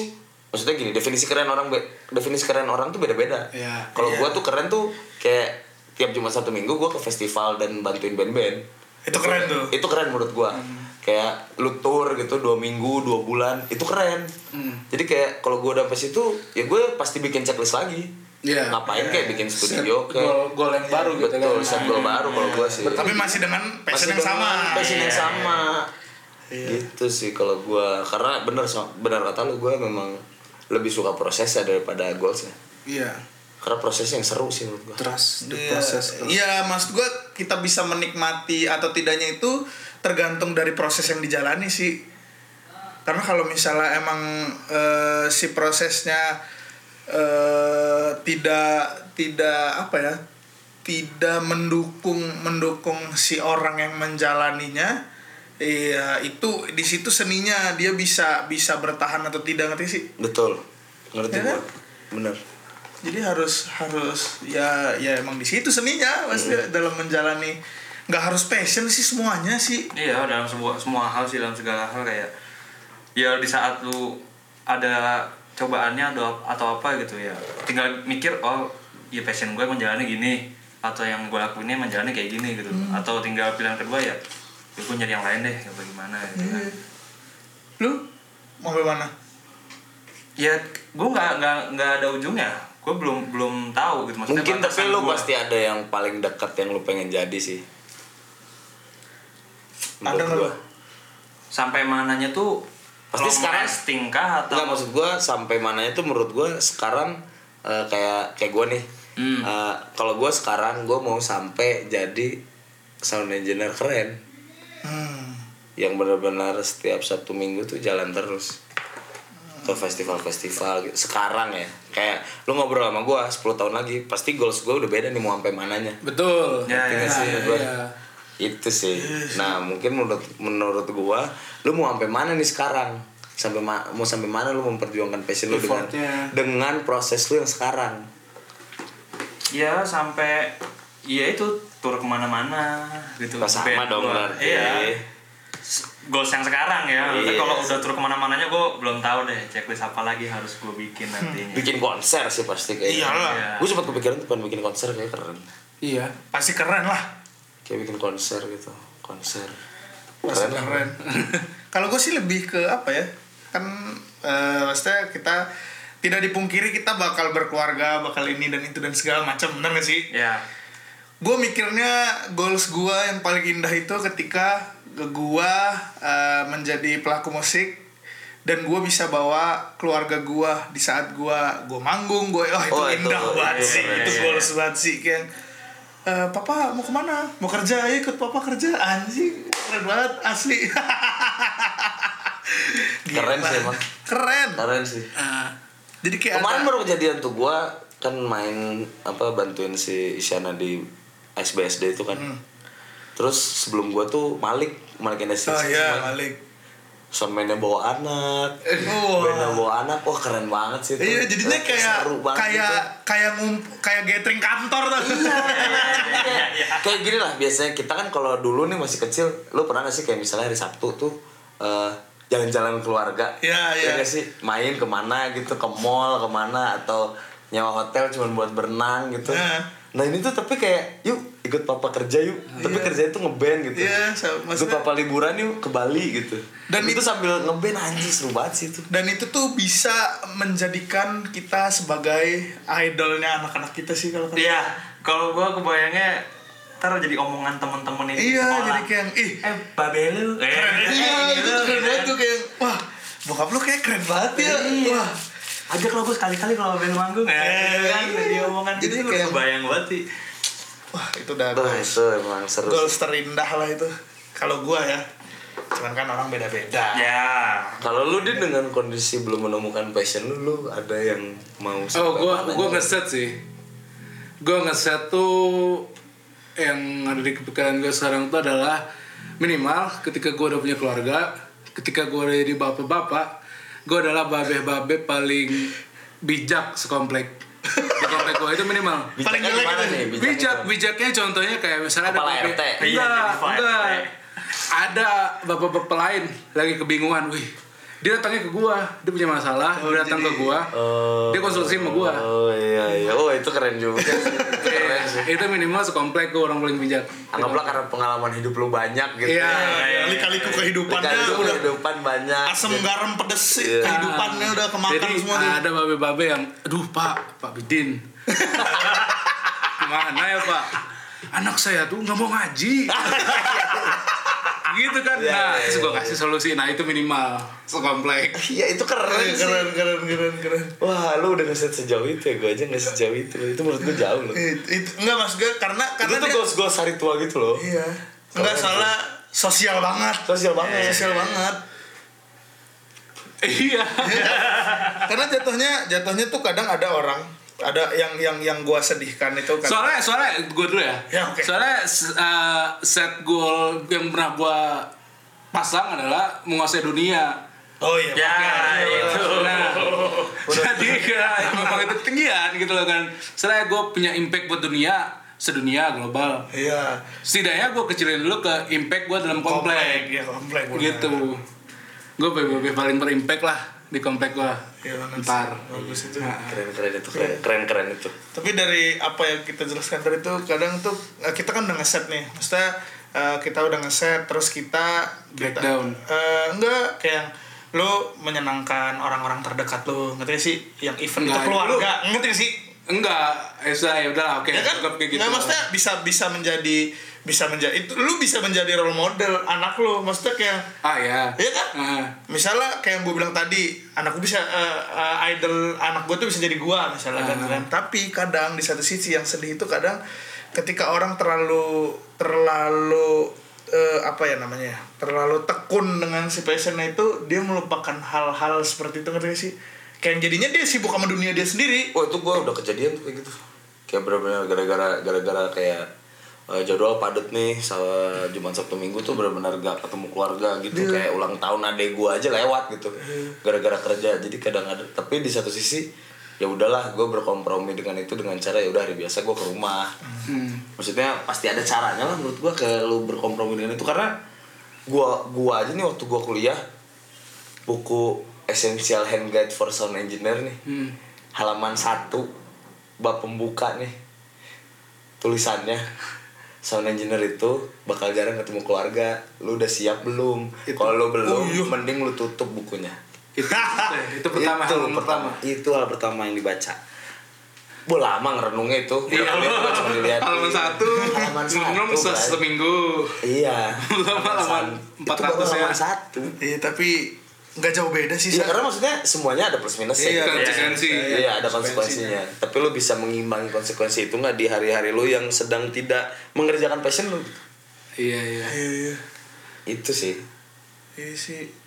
[SPEAKER 4] maksudnya gini definisi keren orang be- definisi keren orang tuh beda-beda.
[SPEAKER 3] Iya.
[SPEAKER 4] Kalau gue tuh keren tuh kayak tiap Jumat satu minggu gue ke festival dan bantuin band-band.
[SPEAKER 2] itu keren tuh
[SPEAKER 4] itu keren menurut gua
[SPEAKER 2] Hmm.
[SPEAKER 4] kayak lu tour gitu dua minggu dua bulan itu keren
[SPEAKER 2] Hmm.
[SPEAKER 4] jadi kayak kalau gua udah sampai situ ya gue pasti bikin checklist lagi
[SPEAKER 3] Iya.
[SPEAKER 4] ngapain kayak bikin
[SPEAKER 3] Set
[SPEAKER 4] studio kayak
[SPEAKER 3] gol, gol yang baru
[SPEAKER 4] Iya,
[SPEAKER 3] gitu
[SPEAKER 4] betul
[SPEAKER 3] kan.
[SPEAKER 4] set
[SPEAKER 3] Nah,
[SPEAKER 4] gol baru kalau gua sih
[SPEAKER 2] kan. tapi masih dengan passion
[SPEAKER 4] Masih
[SPEAKER 2] yang
[SPEAKER 4] dengan
[SPEAKER 2] sama Iya.
[SPEAKER 4] passion yang sama gitu sih kalau gua karena bener so- bener kata lu gua memang lebih suka prosesnya daripada goalsnya
[SPEAKER 3] Iya.
[SPEAKER 4] karena prosesnya yang seru sih menurut gua
[SPEAKER 3] Trust the
[SPEAKER 2] Iya,
[SPEAKER 3] process.
[SPEAKER 2] Iya, maksud gua kita bisa menikmati atau tidaknya itu tergantung dari proses yang dijalani sih. Karena kalau misalnya emang eh, si prosesnya eh, tidak tidak apa ya? Tidak mendukung mendukung si orang yang menjalaninya, Iya, itu di situ seninya dia bisa bisa bertahan atau tidak ngerti sih.
[SPEAKER 4] betul ngerti
[SPEAKER 2] Ya
[SPEAKER 4] gua
[SPEAKER 2] kan?
[SPEAKER 4] bener
[SPEAKER 2] Jadi harus harus ya ya emang di situ seninya maksudnya dalam menjalani nggak harus passion sih semuanya sih.
[SPEAKER 5] Iya dalam semua semua hal sih dalam segala hal kayak ya di saat lu ada cobaannya atau atau apa gitu ya tinggal mikir oh ya passion gue menjalani gini atau yang gue lakuinnya menjalani kayak gini gitu
[SPEAKER 2] Hmm.
[SPEAKER 5] atau tinggal pilihan kedua ya ya gue nyari yang lain deh ya bagaimana gitu
[SPEAKER 2] Hmm.
[SPEAKER 5] kan.
[SPEAKER 2] Lu mau mana?
[SPEAKER 5] ya gue nggak nggak nggak ada ujungnya gue belum belum tahu gitu maksudnya
[SPEAKER 4] mungkin tapi
[SPEAKER 5] batasan
[SPEAKER 4] lu
[SPEAKER 5] gua.
[SPEAKER 4] pasti ada yang paling dekat yang lu pengen jadi sih
[SPEAKER 2] Ada
[SPEAKER 4] Menurut
[SPEAKER 2] nggak
[SPEAKER 4] gua.
[SPEAKER 2] lu?
[SPEAKER 5] sampai mananya tuh
[SPEAKER 4] Pasti
[SPEAKER 5] long
[SPEAKER 4] sekarang-
[SPEAKER 5] lasting kah atau
[SPEAKER 4] Enggak maksud gue sampai mananya tuh menurut gue sekarang eh, kayak kayak gue nih.
[SPEAKER 5] Hmm.
[SPEAKER 4] Eh, kalau gue sekarang gue mau sampai jadi sound engineer keren
[SPEAKER 2] Hmm.
[SPEAKER 4] yang benar-benar setiap satu minggu tuh jalan terus ke festival-festival gitu. sekarang ya kayak lu ngobrol sama gue 10 tahun lagi pasti goals gue udah beda nih mau sampai mananya
[SPEAKER 3] Betul.
[SPEAKER 5] Ya, ya,
[SPEAKER 3] Nah,
[SPEAKER 4] sih, gua.
[SPEAKER 3] iya.
[SPEAKER 4] itu sih nah mungkin menurut menurut gua lu mau sampai mana nih sekarang sampai ma- mau sampai mana lu memperjuangkan passion lu dengan
[SPEAKER 3] Effortnya.
[SPEAKER 4] dengan proses lu yang sekarang
[SPEAKER 5] ya sampai ya itu tur kemana-mana gitu
[SPEAKER 4] Nah, sama
[SPEAKER 5] Band
[SPEAKER 4] dong
[SPEAKER 5] gua.
[SPEAKER 4] berarti
[SPEAKER 5] iya goals yang sekarang ya
[SPEAKER 4] Iya.
[SPEAKER 5] Maksudnya kalau udah tur kemana-mananya gue belum tahu deh checklist apa lagi harus gue bikin
[SPEAKER 2] Hmm.
[SPEAKER 5] nantinya
[SPEAKER 4] bikin konser sih pasti kayaknya
[SPEAKER 2] Iyalah.
[SPEAKER 5] Iya.
[SPEAKER 4] gue sempat kepikiran tuh pengen bikin konser kayak keren
[SPEAKER 3] Iya.
[SPEAKER 2] Pasti keren lah.
[SPEAKER 4] kayak bikin konser gitu konser
[SPEAKER 2] Pasti
[SPEAKER 4] lah.
[SPEAKER 2] keren. Kalau gue sih lebih ke apa ya? Kan eh, maksudnya kita tidak dipungkiri kita bakal berkeluarga, bakal ini dan itu dan segala macam, benar gak sih?
[SPEAKER 5] ya
[SPEAKER 2] Gue mikirnya goals gue yang paling indah itu ketika gue eh, menjadi pelaku musik dan gue bisa bawa keluarga gue di saat gue gue manggung gue oh itu
[SPEAKER 4] Oh, itu-
[SPEAKER 2] indah banget
[SPEAKER 4] itu
[SPEAKER 2] sih
[SPEAKER 4] keren.
[SPEAKER 2] itu
[SPEAKER 5] Iya, iya,
[SPEAKER 2] goals banget sih kayak "Eh, papa mau kemana mau kerja ayo ikut papa kerja anjing keren banget asli Gila.
[SPEAKER 4] Keren sih, emang.
[SPEAKER 2] keren Ah,
[SPEAKER 4] keren sih
[SPEAKER 2] jadi kayak
[SPEAKER 4] kemarin
[SPEAKER 2] ada-
[SPEAKER 4] baru kejadian tuh gue kan main apa bantuin si Isyana di SBSD itu kan
[SPEAKER 2] Hmm.
[SPEAKER 4] terus sebelum gue tuh Malik Malik and the Six
[SPEAKER 2] oh
[SPEAKER 4] Malik.
[SPEAKER 2] iya Malik Eh,
[SPEAKER 4] Soundman-nya bawa anak
[SPEAKER 2] Wah.
[SPEAKER 4] bandnya bawa anak wah keren banget sih tuh.
[SPEAKER 2] Iya, jadinya
[SPEAKER 4] Eh,
[SPEAKER 2] kayak
[SPEAKER 4] seru banget
[SPEAKER 2] kayak kayak ngump kayak gathering kantor tau.
[SPEAKER 4] gitu. kayak gini lah biasanya kita kan kalau dulu nih masih kecil lu pernah gak sih kayak misalnya hari Sabtu tuh eh, jalan-jalan keluarga
[SPEAKER 2] Iya, iya.
[SPEAKER 4] Ya nggak sih main kemana gitu ke mall kemana atau nyawa hotel cuma buat berenang gitu
[SPEAKER 2] Nah.
[SPEAKER 4] nah ini tuh tapi kayak yuk ikut papa kerja yuk tapi kerjanya tuh ngeband gitu
[SPEAKER 2] Iya, so-
[SPEAKER 4] ikut
[SPEAKER 2] maksudnya-
[SPEAKER 4] papa liburan yuk ke Bali gitu dan
[SPEAKER 2] Dan
[SPEAKER 4] itu
[SPEAKER 2] itu-
[SPEAKER 4] sambil ngeband anjir seru banget sih itu
[SPEAKER 2] Dan itu tuh bisa menjadikan kita sebagai idolnya anak-anak kita sih kalau kata-
[SPEAKER 5] iya kalau gue kebayangnya ntar jadi omongan temen-temen ini
[SPEAKER 2] Iya, jadi kayak ih
[SPEAKER 5] eh babel lu eh,
[SPEAKER 2] iya
[SPEAKER 5] eh,
[SPEAKER 2] itu
[SPEAKER 5] gitu,
[SPEAKER 2] keren
[SPEAKER 5] gitu
[SPEAKER 2] banget
[SPEAKER 5] kan.
[SPEAKER 2] tuh kayak wah bokap lu kayak keren banget ya. Wah,
[SPEAKER 5] Ajak lo gue sekali-kali kalau Babel manggung ya.
[SPEAKER 2] Eh,
[SPEAKER 5] kan
[SPEAKER 2] iya.
[SPEAKER 5] jadi omongan
[SPEAKER 2] Jadi
[SPEAKER 5] gitu udah
[SPEAKER 2] kayak-
[SPEAKER 5] kebayang banget sih.
[SPEAKER 2] wah itu udah
[SPEAKER 4] Tuh, itu emang seru sih.
[SPEAKER 2] goals terindah lah itu. Kalau gua ya. Cuman kan orang beda-beda.
[SPEAKER 5] Ya.
[SPEAKER 4] Kalau lu dia dengan kondisi belum menemukan passion lu, lu ada yang mau
[SPEAKER 3] Oh,
[SPEAKER 4] sampai
[SPEAKER 3] gua
[SPEAKER 4] mana
[SPEAKER 3] gua
[SPEAKER 4] gitu?
[SPEAKER 3] ngeset sih. Gua ngeset tuh yang ada di kepikiran gue sekarang tuh adalah minimal ketika gua udah punya keluarga, ketika gua udah jadi bapak-bapak, gua adalah babe-babe paling bijak sekomplek. Di komplek gua itu minimal.
[SPEAKER 2] Paling
[SPEAKER 4] Bijaknya
[SPEAKER 2] jelek
[SPEAKER 4] gimana
[SPEAKER 2] itu.
[SPEAKER 4] nih? Bijaknya
[SPEAKER 3] Bijak, bijaknya contohnya kayak misalnya
[SPEAKER 4] Kepala
[SPEAKER 3] babe-
[SPEAKER 4] RT.
[SPEAKER 5] Iya,
[SPEAKER 3] Enggak,
[SPEAKER 5] jadi kepala
[SPEAKER 3] enggak.
[SPEAKER 5] RT.
[SPEAKER 3] Ada bapak-bapak lain lagi kebingungan, wih. Dia datangnya ke gua, dia punya masalah,
[SPEAKER 5] Oh,
[SPEAKER 3] dia datang ke gua. dia konsultasi sama gua.
[SPEAKER 4] gitu.
[SPEAKER 3] Iya
[SPEAKER 4] Oh iya iya, oh itu keren juga. sih. keren sih.
[SPEAKER 3] itu minimal sekomplek gua orang paling bijak.
[SPEAKER 4] Anggaplah karena pengalaman hidup lu banyak gitu.
[SPEAKER 3] Iya.
[SPEAKER 5] iya,
[SPEAKER 2] Lika-liku
[SPEAKER 4] Kehidupan
[SPEAKER 2] kehidupannya udah
[SPEAKER 4] kehidupan banyak.
[SPEAKER 2] asam garam pedes sih.
[SPEAKER 4] Iya.
[SPEAKER 2] kehidupannya udah kemakan
[SPEAKER 3] Jadi
[SPEAKER 2] semua tuh.
[SPEAKER 3] ada babe-babe yang, aduh pak, pak Bidin. Gimana ya pak? Anak saya tuh nggak mau ngaji. gitu kan.
[SPEAKER 4] Iya,
[SPEAKER 3] nah,
[SPEAKER 4] iya,
[SPEAKER 3] terus
[SPEAKER 4] iya,
[SPEAKER 3] gua kasih solusi. Nah, itu minimal sekomplek.
[SPEAKER 4] Iya itu keren sih.
[SPEAKER 2] keren keren keren keren
[SPEAKER 4] Wah lu udah ngeset sejauh itu ya, gue aja nggak sejauh itu. Itu menurut gue jauh loh.
[SPEAKER 2] It, it, enggak mas gue karena
[SPEAKER 4] Itu
[SPEAKER 2] karena
[SPEAKER 4] tuh
[SPEAKER 2] dia
[SPEAKER 4] goals-goals hari tua gitu loh.
[SPEAKER 2] iya enggak
[SPEAKER 4] Keren,
[SPEAKER 2] soalnya sosial banget
[SPEAKER 4] Sosial banget.
[SPEAKER 2] sosial banget
[SPEAKER 3] Iya.
[SPEAKER 2] karena jatuhnya jatuhnya tuh kadang ada orang ada yang yang yang gua sedihkan itu kan
[SPEAKER 3] soalnya soalnya gue dulu ya, eh,
[SPEAKER 2] Ya, oke.
[SPEAKER 3] soalnya s- uh, set goal yang pernah gue pasang adalah menguasai dunia.
[SPEAKER 2] Oh iya.
[SPEAKER 5] Ya, itu.
[SPEAKER 3] Nah, jadi ya, memang itu ketinggian gitu loh kan. Setelah gue punya impact buat dunia, sedunia global.
[SPEAKER 2] Iya.
[SPEAKER 3] Setidaknya gue kecilin dulu ke impact gue dalam komplek.
[SPEAKER 2] ya komplek. bener.
[SPEAKER 3] gitu. Gue paling berimpact lah di komplek gue.
[SPEAKER 2] Iya bener sih.
[SPEAKER 3] Ntar.
[SPEAKER 2] Bagus itu.
[SPEAKER 4] keren keren itu keren keren, keren itu
[SPEAKER 2] Tapi dari apa yang kita jelaskan tadi tuh kadang tuh eh, kita kan udah ngeset nih. Maksudnya eh, kita udah ngeset terus kita kita-
[SPEAKER 3] Breakdown.
[SPEAKER 2] Eh, enggak kayak yang lo menyenangkan orang-orang terdekat lo ngerti gak sih yang event itu
[SPEAKER 3] Enggak,
[SPEAKER 2] keluarga ngerti gak sih
[SPEAKER 3] Enggak, eh, sudah ya udah oke.
[SPEAKER 2] ya kan
[SPEAKER 3] anggap kayak gitu.
[SPEAKER 2] nggak maksudnya bisa bisa menjadi bisa menjadi itu lu bisa menjadi role model anak lo maksudnya kayak
[SPEAKER 3] Ah ya.
[SPEAKER 2] Iya kan?
[SPEAKER 3] Ah.
[SPEAKER 2] misalnya kayak yang gue bilang tadi anak gue bisa eh, eh, idol anak gue tuh bisa jadi gue misalnya kan, kan. tapi kadang di satu sisi yang sedih itu kadang ketika orang terlalu terlalu eh, apa ya namanya ya, terlalu tekun dengan si passionnya itu dia melupakan hal-hal seperti itu ngerti gak sih kayak jadinya dia sibuk sama dunia dia sendiri
[SPEAKER 4] Wah itu gue udah kejadian tuh kayak gitu Kayak bener-bener gara-gara gara-gara kayak eh, jadwal padet nih sama Jumat Sabtu Minggu tuh bener-bener gak ketemu keluarga gitu kayak ulang tahun adek gue aja lewat gitu gara-gara kerja jadi kadang ada tapi di satu sisi ya udahlah gue berkompromi dengan itu dengan cara ya udah hari biasa gue ke rumah maksudnya pasti ada caranya lah menurut gue kayak lu berkompromi dengan itu karena gua gua aja nih waktu gua kuliah buku Essential Hand Guide for Sound Engineer nih
[SPEAKER 3] Hmm.
[SPEAKER 4] halaman 1 bab pembuka nih tulisannya sound engineer itu bakal jarang ketemu keluarga lu udah siap belum kalau lu
[SPEAKER 3] Oh,
[SPEAKER 4] belum
[SPEAKER 3] iya.
[SPEAKER 4] mending lu tutup bukunya
[SPEAKER 3] Itu, itu pertama
[SPEAKER 4] itu
[SPEAKER 3] hal pertama.
[SPEAKER 4] itu hal pertama yang dibaca Gue lama ngerenungnya itu Gua kuliah gua cuma dilihat
[SPEAKER 3] Iya. Halaman satu,
[SPEAKER 4] Halaman
[SPEAKER 3] ngomong
[SPEAKER 4] satu,
[SPEAKER 3] se-
[SPEAKER 4] Bray.
[SPEAKER 3] seminggu.
[SPEAKER 4] Iya
[SPEAKER 3] Belum halaman
[SPEAKER 4] Itu baru
[SPEAKER 3] 400 ya.
[SPEAKER 4] halaman satu
[SPEAKER 2] iya tapi nggak jauh beda sih
[SPEAKER 4] Iya
[SPEAKER 2] Sa.
[SPEAKER 4] karena maksudnya semuanya ada plus minus
[SPEAKER 2] Iya,
[SPEAKER 3] Konsistensi.
[SPEAKER 4] Iya, ada konsekuensinya. Tapi lu bisa mengimbangi konsekuensi itu nggak di hari-hari lu yang sedang tidak mengerjakan passion lu?
[SPEAKER 3] Iya iya.
[SPEAKER 2] iya iya
[SPEAKER 4] Itu sih
[SPEAKER 2] iya sih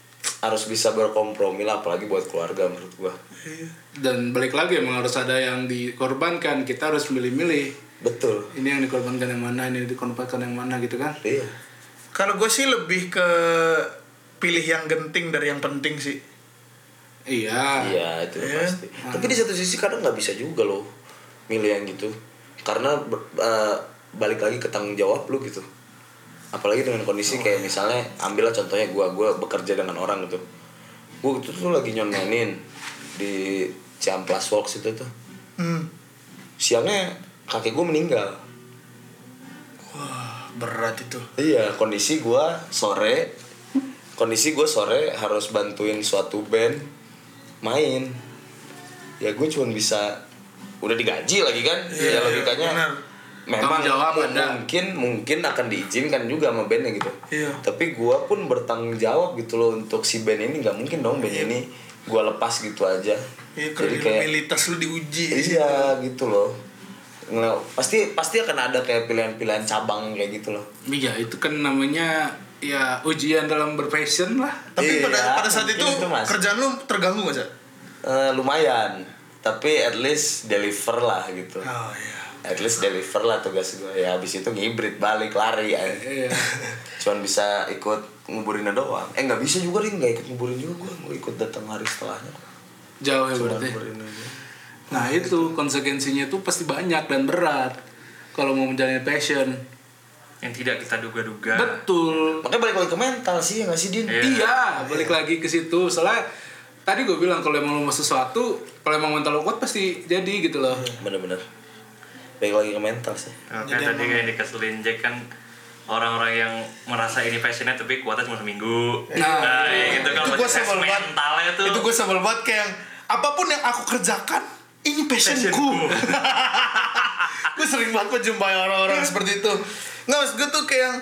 [SPEAKER 4] harus bisa berkompromi lah apalagi buat keluarga menurut gua.
[SPEAKER 2] iya
[SPEAKER 3] Dan balik lagi emang harus ada yang dikorbankan. Kita harus milih-milih.
[SPEAKER 4] Betul.
[SPEAKER 3] Ini yang dikorbankan yang mana, ini yang dikorbankan yang mana gitu kan?
[SPEAKER 4] Iya.
[SPEAKER 2] Kalau gue sih lebih ke pilih yang genting dari yang penting sih.
[SPEAKER 3] Iya.
[SPEAKER 4] Iya itu
[SPEAKER 2] Iya.
[SPEAKER 4] pasti. Tapi di satu sisi kadang nggak bisa juga loh milih yang gitu karena ber- eh, balik lagi ke tanggung jawab lu gitu. Apalagi dengan kondisi kayak misalnya ambillah contohnya gua gua bekerja dengan orang gitu. Gua itu tuh lagi nyonenin di Ciamplas Works itu tuh.
[SPEAKER 2] Hmm.
[SPEAKER 4] siangnya kakek gue meninggal
[SPEAKER 2] Wah berat itu.
[SPEAKER 4] iya kondisi gue sore kondisi gue sore harus bantuin suatu band main ya gue cuma bisa udah digaji lagi kan
[SPEAKER 2] Iya,
[SPEAKER 4] ya logikanya
[SPEAKER 2] benar.
[SPEAKER 4] memang
[SPEAKER 3] Tanggung jawab
[SPEAKER 4] mu-
[SPEAKER 3] ada.
[SPEAKER 4] mungkin mungkin akan diizinkan juga sama bandnya gitu
[SPEAKER 2] Iya.
[SPEAKER 4] tapi gue pun bertanggung jawab gitu loh untuk si band ini nggak mungkin dong band ini gue lepas gitu aja
[SPEAKER 2] Iya kredibilitas lu diuji.
[SPEAKER 4] iya gitu loh Ngelew- pasti pasti akan ada kayak pilihan-pilihan cabang kayak gitu loh
[SPEAKER 3] Iya itu kan namanya ya ujian dalam berpassion lah.
[SPEAKER 2] Tapi pada
[SPEAKER 4] Iya,
[SPEAKER 2] pada saat itu,
[SPEAKER 4] mungkin itu, Mas.
[SPEAKER 2] kerjaan lu terganggu ya? gak sih?
[SPEAKER 4] Eh, lumayan tapi at least deliver lah gitu
[SPEAKER 2] Oh iya.
[SPEAKER 4] at least deliver lah tugas gue ya habis itu ngibrit balik lari eh.
[SPEAKER 3] Iya.
[SPEAKER 4] cuman bisa ikut nguburinnya doang eh nggak bisa juga ring nggak ikut nguburin juga gue gue ikut datang hari setelahnya
[SPEAKER 3] Jauh ya berarti.
[SPEAKER 4] nguburin aja
[SPEAKER 3] Nah itu konsekuensinya itu pasti banyak dan berat kalau mau menjalani passion.
[SPEAKER 5] yang tidak kita duga-duga
[SPEAKER 3] Betul.
[SPEAKER 4] makanya balik lagi ke mental sih ya nggak sih din
[SPEAKER 5] Iya.
[SPEAKER 3] Iya, balik lagi ke situ. Soalnya tadi gue bilang kalau emang lo mau sesuatu, kalau emang mental lo kuat pasti jadi gitu loh.
[SPEAKER 4] bener-bener balik lagi ke mental sih
[SPEAKER 5] Nah, kayak tadi kayak dikeselin Jack kan orang-orang yang merasa ini passionnya tapi kuatnya cuma seminggu
[SPEAKER 3] Nah,
[SPEAKER 5] kayak gitu kan
[SPEAKER 2] itu
[SPEAKER 5] pasti
[SPEAKER 2] gue
[SPEAKER 5] tes
[SPEAKER 2] sebel banget.
[SPEAKER 5] mentalnya tuh
[SPEAKER 2] Itu gue sebel banget kayak yang, apapun yang aku kerjakan ini passionku. gue sering banget menjumpai orang-orang seperti itu. Nggak maksud gue tuh kayak yang,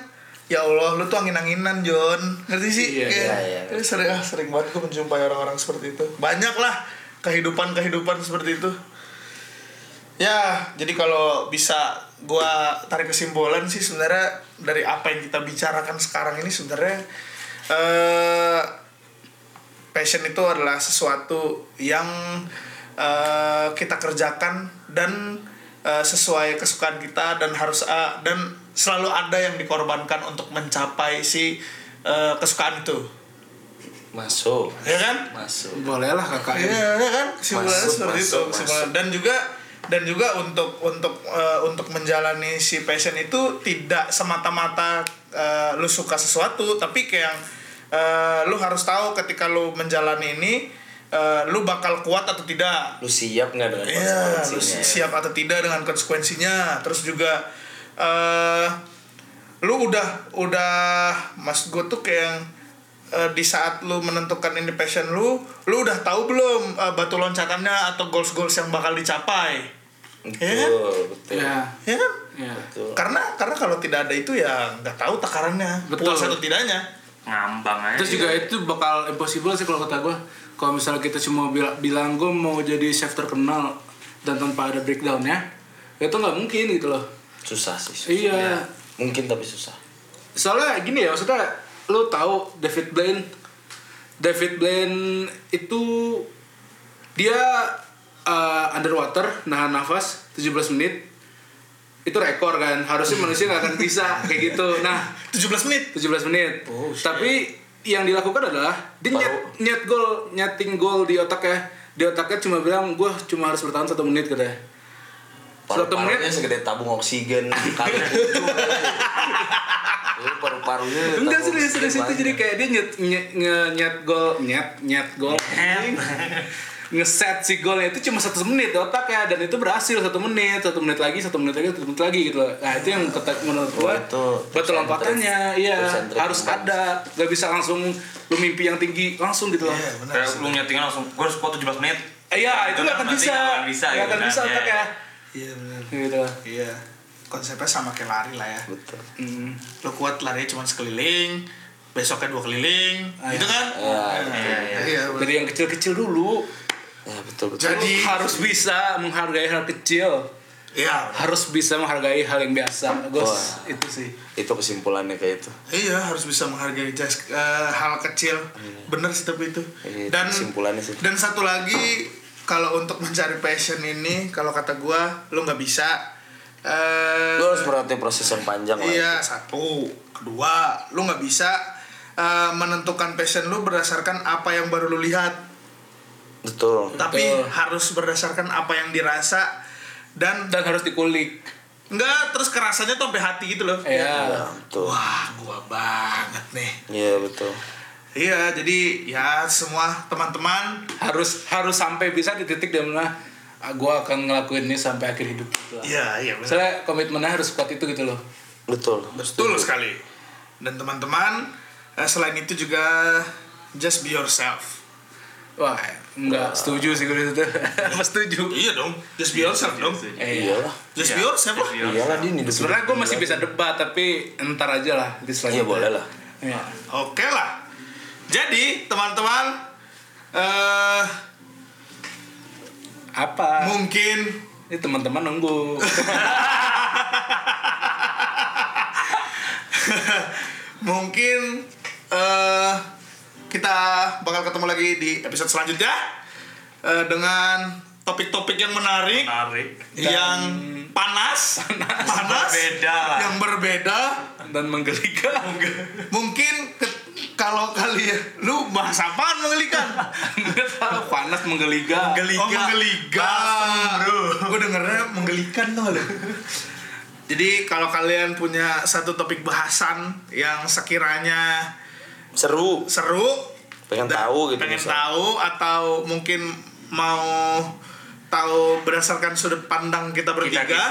[SPEAKER 2] ya Allah lu tuh angin-anginan John. Ngerti sih?
[SPEAKER 3] Iya,
[SPEAKER 2] Kayak,
[SPEAKER 4] iya, iya.
[SPEAKER 2] eh, Sering, ah, sering banget gue menjumpai orang-orang seperti itu. Banyak lah kehidupan-kehidupan seperti itu. Ya, jadi kalau bisa gua tarik kesimpulan sih sebenarnya dari apa yang kita bicarakan sekarang ini sebenarnya eh passion itu adalah sesuatu yang eh, kita kerjakan dan eh, sesuai kesukaan kita dan harus eh, dan selalu ada yang dikorbankan untuk mencapai si eh, kesukaan itu
[SPEAKER 4] Masuk.
[SPEAKER 2] ya kan
[SPEAKER 4] Masuk.
[SPEAKER 3] boleh lah kakak ini.
[SPEAKER 2] Iya ya kan kesimpulannya
[SPEAKER 4] Masuk,
[SPEAKER 2] seperti itu
[SPEAKER 4] masuk,
[SPEAKER 2] kesimpulan. dan juga dan juga untuk untuk eh, untuk menjalani si passion itu tidak semata-mata eh, lu suka sesuatu tapi kayak yang eh, lu harus tahu ketika lu menjalani ini eh, lu bakal kuat atau tidak
[SPEAKER 4] Lu siap nggak dengan
[SPEAKER 2] Iya, lu
[SPEAKER 4] konsekuensinya?
[SPEAKER 2] siap atau tidak dengan konsekuensinya. Terus juga eh lu udah udah mas gue tuh kayak yang, eh, di saat lu menentukan ini passion lu, lu udah tahu belum eh, batu loncatannya atau goals-goals yang bakal dicapai? Iya kan?
[SPEAKER 4] Betul, betul.
[SPEAKER 3] ya
[SPEAKER 2] Ya kan?
[SPEAKER 3] ya
[SPEAKER 4] betul.
[SPEAKER 2] Karena karena kalau tidak ada itu ya nggak tahu takarannya.
[SPEAKER 3] Betul.
[SPEAKER 2] Puas atau tidaknya.
[SPEAKER 5] ngambang aja
[SPEAKER 3] Terus juga itu bakal impossible sih kalau kata gue. Kalau misalnya kita cuma bila- bilang gue mau jadi chef terkenal dan tanpa ada breakdownnya, ya itu nggak mungkin gitu loh.
[SPEAKER 4] Susah sih. susah.
[SPEAKER 3] Iya.
[SPEAKER 4] Mungkin tapi susah.
[SPEAKER 3] Soalnya gini ya maksudnya, lu tahu David Blaine, David Blaine itu dia eh, underwater nahan nafas 17 menit itu rekor kan harusnya manusia nggak akan bisa kayak gitu nah
[SPEAKER 2] 17 menit.
[SPEAKER 3] 17 menit. Tapi yang dilakukan adalah dia
[SPEAKER 4] Oh, Baru.
[SPEAKER 3] nyet, nyet gol, nyeting gol di otaknya. Di otaknya cuma bilang gue cuma harus bertahan satu menit katanya. Satu menit?
[SPEAKER 4] Paru-parunya segede tabung oksigen kali tujuh. Lu Iya, paru-parunya
[SPEAKER 3] Enggak
[SPEAKER 4] tabung
[SPEAKER 3] serius serius
[SPEAKER 4] oksigen
[SPEAKER 3] itu jadi kayak dia nyet nyet nge- nyet gol, nyet nyet gol. Ngeset si golnya itu cuma satu menit di otaknya dan itu berhasil satu menit, satu menit lagi, satu menit lagi, satu menit lagi gitu loh. Nah itu yang kata- menurut
[SPEAKER 4] Oh,
[SPEAKER 3] gua
[SPEAKER 4] itu tips
[SPEAKER 3] batu
[SPEAKER 4] and
[SPEAKER 3] lompatannya,
[SPEAKER 4] tricks.
[SPEAKER 3] iya
[SPEAKER 4] Tips and tricks.
[SPEAKER 3] harus ada, nggak bisa langsung lu mimpi yang tinggi langsung gitu
[SPEAKER 4] Iya,
[SPEAKER 3] loh.
[SPEAKER 5] kayak lu nyetingin langsung gue harus kuat 17 menit
[SPEAKER 3] Iya, itu nggak akan
[SPEAKER 5] Nanti
[SPEAKER 3] bisa.
[SPEAKER 5] nggak akan bisa
[SPEAKER 3] Nggak
[SPEAKER 5] gitu
[SPEAKER 3] akan
[SPEAKER 5] kan,
[SPEAKER 3] bisa
[SPEAKER 5] ya.
[SPEAKER 3] otak ya.
[SPEAKER 2] Iya benar.
[SPEAKER 3] Gitu.
[SPEAKER 2] Iya. Konsepnya sama kayak lari lah ya.
[SPEAKER 4] Betul.
[SPEAKER 3] Hmm.
[SPEAKER 2] lo kuat larinya cuma sekeliling besoknya dua keliling
[SPEAKER 3] Ah,
[SPEAKER 2] gitu kan
[SPEAKER 4] Iya,
[SPEAKER 5] iya, iya.
[SPEAKER 2] iya
[SPEAKER 3] Dari yang kecil-kecil dulu.
[SPEAKER 4] Ya betul betul.
[SPEAKER 2] Jadi-
[SPEAKER 3] Lu harus bisa menghargai hal kecil.
[SPEAKER 2] iya
[SPEAKER 3] Harus bisa menghargai hal yang biasa. Gue
[SPEAKER 4] Wah.
[SPEAKER 3] itu sih.
[SPEAKER 4] itu kesimpulannya kayak itu.
[SPEAKER 2] iya harus bisa menghargai jas- eh, hal kecil bener sih tapi itu
[SPEAKER 4] Iya, itu
[SPEAKER 2] dan
[SPEAKER 4] kesimpulannya sih.
[SPEAKER 2] dan satu lagi kalau untuk mencari passion ini kalau kata gua lo nggak bisa eh
[SPEAKER 4] Lu harus berarti proses yang panjang lah.
[SPEAKER 2] Iya satu, kedua, lu nggak bisa eh, menentukan passion lu berdasarkan apa yang baru lu lihat,
[SPEAKER 4] Betul.
[SPEAKER 2] tapi harus berdasarkan apa yang dirasa dan
[SPEAKER 3] Dan harus dikulik.
[SPEAKER 2] Enggak, terus kerasanya tuh sampai hati gitu loh.
[SPEAKER 4] Ya,
[SPEAKER 3] Ya.
[SPEAKER 4] betul.
[SPEAKER 2] Wah, gua banget nih.
[SPEAKER 4] Iya betul.
[SPEAKER 2] Iya, jadi ya semua teman-teman,
[SPEAKER 3] Harus harus sampai bisa di titik dia mana gue akan ngelakuin ini sampai akhir hidup. Gitu lah.
[SPEAKER 2] iya iya betul,
[SPEAKER 3] Soalnya komitmennya harus kuat itu gitu loh.
[SPEAKER 4] Betul.
[SPEAKER 2] betul sekali. Dan teman-teman, eh, selain itu juga just be yourself.
[SPEAKER 3] Wah, enggak setuju sih gue itu. setuju.
[SPEAKER 2] Iya dong, just be yourself dong.
[SPEAKER 3] Eh,
[SPEAKER 4] Iya lah.
[SPEAKER 2] Just be yourself lah.
[SPEAKER 4] Iyalah dia hidup.
[SPEAKER 3] Sebenarnya gue masih bisa debat tapi entar aja lah di
[SPEAKER 4] Iya
[SPEAKER 3] selanjutnya.
[SPEAKER 4] boleh lah.
[SPEAKER 3] Iya.
[SPEAKER 2] Oke lah. Jadi, teman-teman eh
[SPEAKER 3] Apa?
[SPEAKER 2] mungkin
[SPEAKER 3] Ini teman-teman nunggu.
[SPEAKER 2] mungkin eh kita bakal ketemu lagi di episode selanjutnya eh, dengan topik-topik yang menarik,
[SPEAKER 5] menarik
[SPEAKER 2] yang panas, panas,
[SPEAKER 5] Berbeda lah.
[SPEAKER 2] yang berbeda.
[SPEAKER 3] dan menggelikan.
[SPEAKER 2] Mungkin ke- kalau kalian lu bahas apaan menggelikan?
[SPEAKER 3] Nggak tahu, panas menggelikan.
[SPEAKER 2] Oh, menggelikan. Bro. Gue dengernya menggelikan tuh lu. Jadi kalau kalian punya satu topik bahasan yang sekiranya
[SPEAKER 4] Seru.
[SPEAKER 2] seru
[SPEAKER 4] Pengen
[SPEAKER 2] Dan
[SPEAKER 4] tahu gitu.
[SPEAKER 2] pengen
[SPEAKER 4] misalnya.
[SPEAKER 2] tahu atau mungkin mau tahu berdasarkan sudut pandang kita
[SPEAKER 5] kita
[SPEAKER 2] bertiga
[SPEAKER 5] kita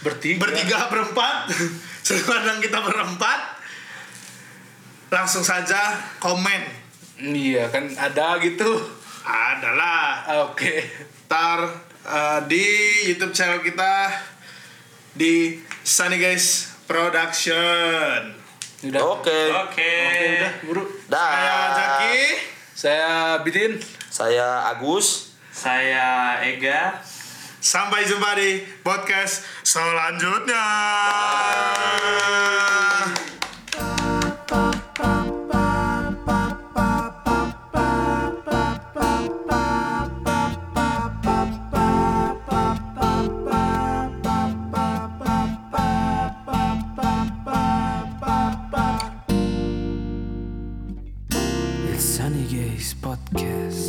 [SPEAKER 3] Bertiga.
[SPEAKER 4] Iya.
[SPEAKER 2] bertiga berempat sudut pandang kita berempat langsung saja komen
[SPEAKER 3] Iya kan ada gitu.
[SPEAKER 2] adalah
[SPEAKER 3] Oke.
[SPEAKER 2] tar eh, di YouTube channel kita di Sunny Guys Production.
[SPEAKER 3] Udah.
[SPEAKER 4] Oke.
[SPEAKER 5] oke
[SPEAKER 3] Oke, udah buru.
[SPEAKER 4] Dah.
[SPEAKER 2] Saya Zaki.
[SPEAKER 3] Saya Bidin.
[SPEAKER 4] Saya Agus.
[SPEAKER 5] saya Ega
[SPEAKER 2] Sampai jumpa di podcast selanjutnya.
[SPEAKER 1] Guys Podcast